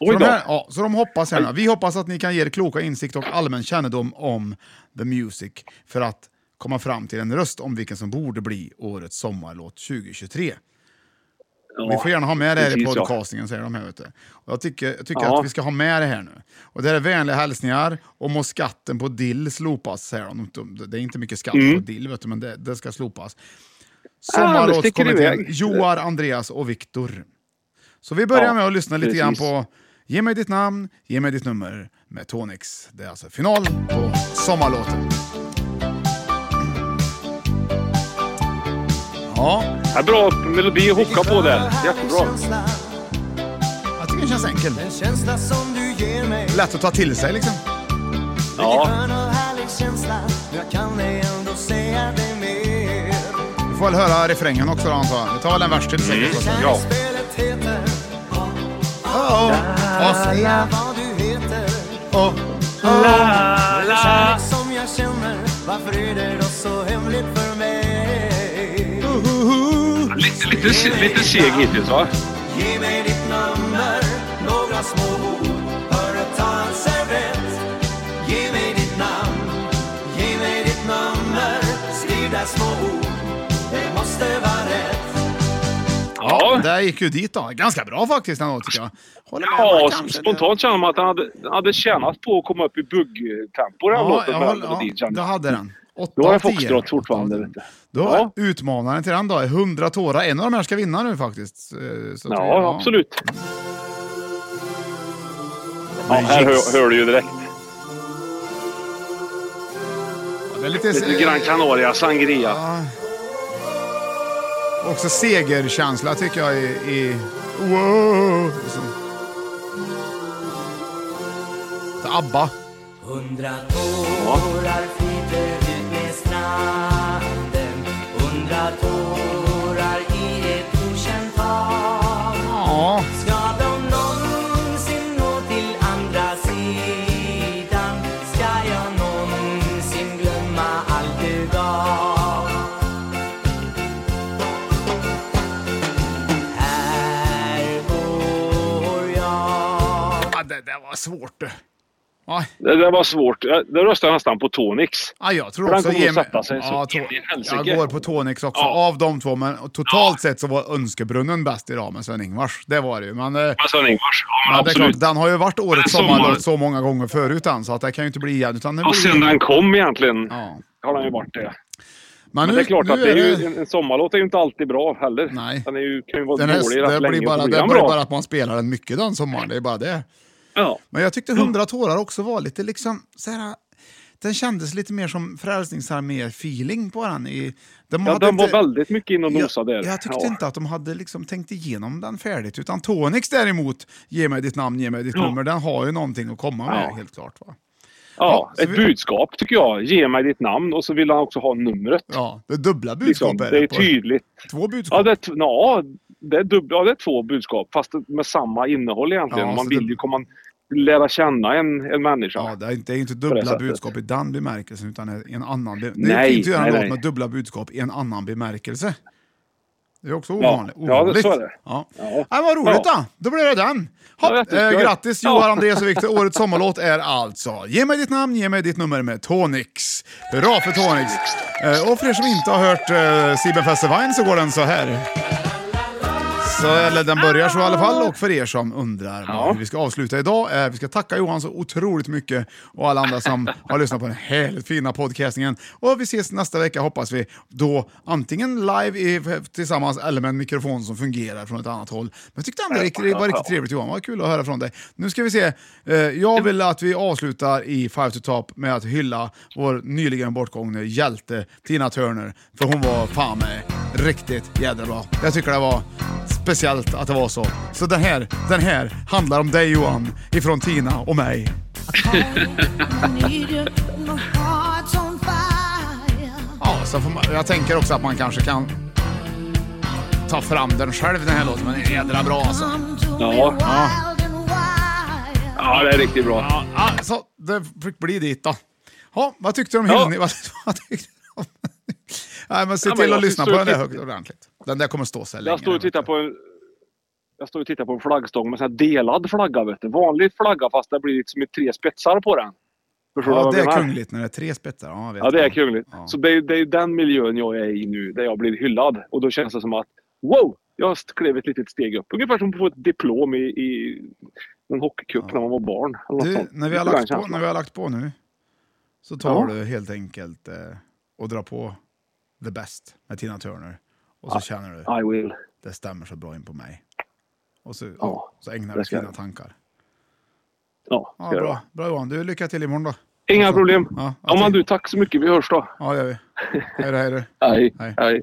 Oj
Så
då!
de, här, ja, så de hoppas här, nu. vi hoppas att ni kan ge er kloka insikt och allmän kännedom om the music för att komma fram till en röst om vilken som borde bli årets sommarlåt 2023.
ja.
Vi får gärna ha med det här i
precis, ja.
podcastingen, säger de här. Vet du. Och jag tycker, jag tycker
Ja.
att vi ska ha med det här nu. Och det här är vänliga hälsningar och må skatten på dill slopas, säger de. De- Det är inte mycket skatt
Mm.
på dill, vet du, men det, det ska slopas.
Ah, det sticker
Sommarlåtskommittén,
iväg.
Joar, Andreas och Viktor. Så vi börjar
Ja,
med att lyssna lite grann
precis.
på Ge mig ditt namn, ge mig ditt nummer med Tonix. Det är alltså final på sommarlåten. Ja.
Ja, bra melodi att hocka på där. Jättebra.
Jag tycker den känns enkel.
Den känsla som du ger mig
Lätt att ta till sig liksom.
Vilken skön och härlig känsla Jag kan ej ändå säga dig mer
Vi får väl höra refrängen också då antar jag. Vi tar väl en vers till
Mm.
säkert. också.
Kärleksspelet heter
Oh,
La,
oh.
la, vad du heter
Oh.
La, la Kärlek som jag känner Varför är det då så hemligt för mig?
Lite, lite, se- lite seg hittills va?
Ge mig ditt nummer Några små ord Hörru, ta en servett Ge mig ditt namn Ge mig ditt nummer Skriv där små ord Det måste vara rätt
Ja, där gick ju dit då. Ganska bra faktiskt ändå tycker jag.
Ja, spontant känner man att den hade, den hade tjänat på att komma upp i buggtempo den här
Ja,
låten.
jag
med
håller-
melodin,
ja,
känner
då
jag.
hade den. Åtta
Då har jag
av tio.
foxtrot fortfarande. Vet du.
Då
Ja.
utmanaren till den då är 100 tårar. En av de här ska vinna nu faktiskt. Eh, Så att vi-
Ja, absolut. Ja,
Men
här
jigs.
hör, hör du ju direkt.
Det är lite,
Lite Gran Canaria, Sangria.
Också segerkänsla tycker jag i... i wow! Liksom. Och så- Det är ABBA.
Hundra tårar flyter ut med stranden Hundra tårar i ett okänt hav Ska de någonsin nå till andra sidan Ska jag någonsin glömma allt du gav Här går jag
Ja, det där var svårt du. Ja,
Det där var svårt. Jag- Där röstar jag nästan på Tonix.
ja, jag tror
För den
också...
kommer
ge
att
mig-
sätta sig så
ja,
in i helsike.
jag går på Tonix också, av de två. Men totalt sett så var Önskebrunnen bäst idag med Sven-Ingvars. Det var det ju. Men, eh,
Men Sven-Ingvars. Ja, men
ja, det är
absolut.
klart, den har ju varit årets
Men sommar-
sommarlåt så många gånger förut än, så att det kan ju inte bli igen. Utan det
Ja,
blir-
sen den kom egentligen
Ja.
har den ju varit det.
Men
Men,
nu-
det är klart
nu
att det
är
är
det-
ju, en, en sommarlåt är ju inte alltid bra heller. Nej. Den är ju, kan ju vara
Den
dålig
här,
rätt
det
länge
blir bara,
och så
det
blir den
blir
bra.
bara att man spelar den mycket den sommaren, det är bara det.
Ja.
Men jag tyckte 100 tårar också var lite liksom så här, den kändes lite mer som Frälsningsarmé-feeling på den. I, de
Ja,
hade
den var
inte-
väldigt mycket in och
jag,
nosade där.
jag tyckte
ja.
inte att de hade liksom tänkt igenom den färdigt, utan Tonix däremot, Ge mig ditt namn, ge mig ditt
Ja.
nummer, den har ju någonting att komma med
Ja.
helt klart. Va?
Ja,
så
ett
vi-
budskap tycker jag. Ge mig ditt namn och så vill han också ha numret.
Ja, det är dubbla budskap
Liksom,
är
det är
det på-
tydligt.
Två budskap?
Ja, det är, t- ja, det är, dubbla, ja, det är två budskap fast med samma innehåll egentligen.
Ja,
man
så
vill
det-
ju komma lära känna en, en människa.
Ja, det är inte, det är inte
På det
dubbla
sättet.
budskap i den bemärkelsen, utan i en annan. be- det är
Nej,
fint att göra en
nej,
låt
nej.
med dubbla budskap i en annan bemärkelse. Det är också
Ja.
ovanligt.
Ja, det-
ovanligt.
så är det.
Ja. Ja, vad roligt
Ja.
då! Då blir det den.
Ja,
Hopp. eh,
jätteskoj.
grattis
Ja.
Johan, Andreas och Viktor. Årets sommarlåt är alltså Ge mig ditt namn, ge mig ditt nummer med Tonix. Hurra för Tonix! Eh, och för er som inte har hört eh, Sieben Festival så går den så här. Så, eller den börjar så i alla fall. Och för er som undrar vad hur vi ska avsluta idag. Eh, vi ska tacka Johan så otroligt mycket och alla andra som har lyssnat på den härligt fina podcastingen. Och vi ses nästa vecka hoppas vi. Då antingen live i, tillsammans eller med en mikrofon som fungerar från ett annat håll. Men jag tyckte ändå det var riktigt trevligt Johan. Vad kul att höra från dig. Nu ska vi se. Eh, jag vill att vi avslutar i Five to Top med att hylla vår nyligen bortgångne hjälte Tina Turner. För hon var fan med riktigt jädra bra. Jag tycker det var speciellt att det var så. Så den här, den här handlar om dig Johan, ifrån Tina och mig.
need you. My heart's on fire.
Ja, så får man, jag tänker också att man kanske kan ta fram den själv den här låten, men den är jädra bra alltså.
Ja.
ja.
Ja, det är riktigt bra.
Ja, alltså, det fick bli dit då. Ja, vad tyckte du om
Ja.
hyllning? Vad, vad tyckte du om... Nej, men se
Ja, men
till
jag
att lyssna på
förstår
den där
riktigt.
högt ordentligt. Den där kommer stå sig länge.
Jag står och tittar på en... Jag står och tittar på en flaggstång med en delad flagga. Vet du. Vanlig flagga fast det blir liksom tre spetsar på den. Förstår du
Ja,
vad
det
jag
är
menar?
kungligt när det är tre spetsar. Ja, jag vet
Ja, det är
vad.
kungligt. Så det är, det är den miljön jag är i nu, där jag blir hyllad. Och då känns det som att wow, jag klev ett litet steg upp. Ungefär som att få ett diplom i, i en hockeycup när man var barn. Eller något
Du,
sånt.
när vi, har
Lite
lagt
den
på, när
känslan.
vi har lagt på nu så tar
Ja.
du helt enkelt eh, och drar på The Best med Tina Turner. Och så känner du
I will.
det stämmer så bra in på mig. Och så, oh,
Ja,
så ägnar
det
vi oss
ska
dina
jag.
tankar.
Ja,
Ja,
det gör
bra. bra Johan. Du, lycka till imorgon då.
jag. Inga problem.
Ja,
Ja, men du, tack så mycket. Vi hörs då.
Ja, det gör vi. Hej då, hej då.
Hej. Hej.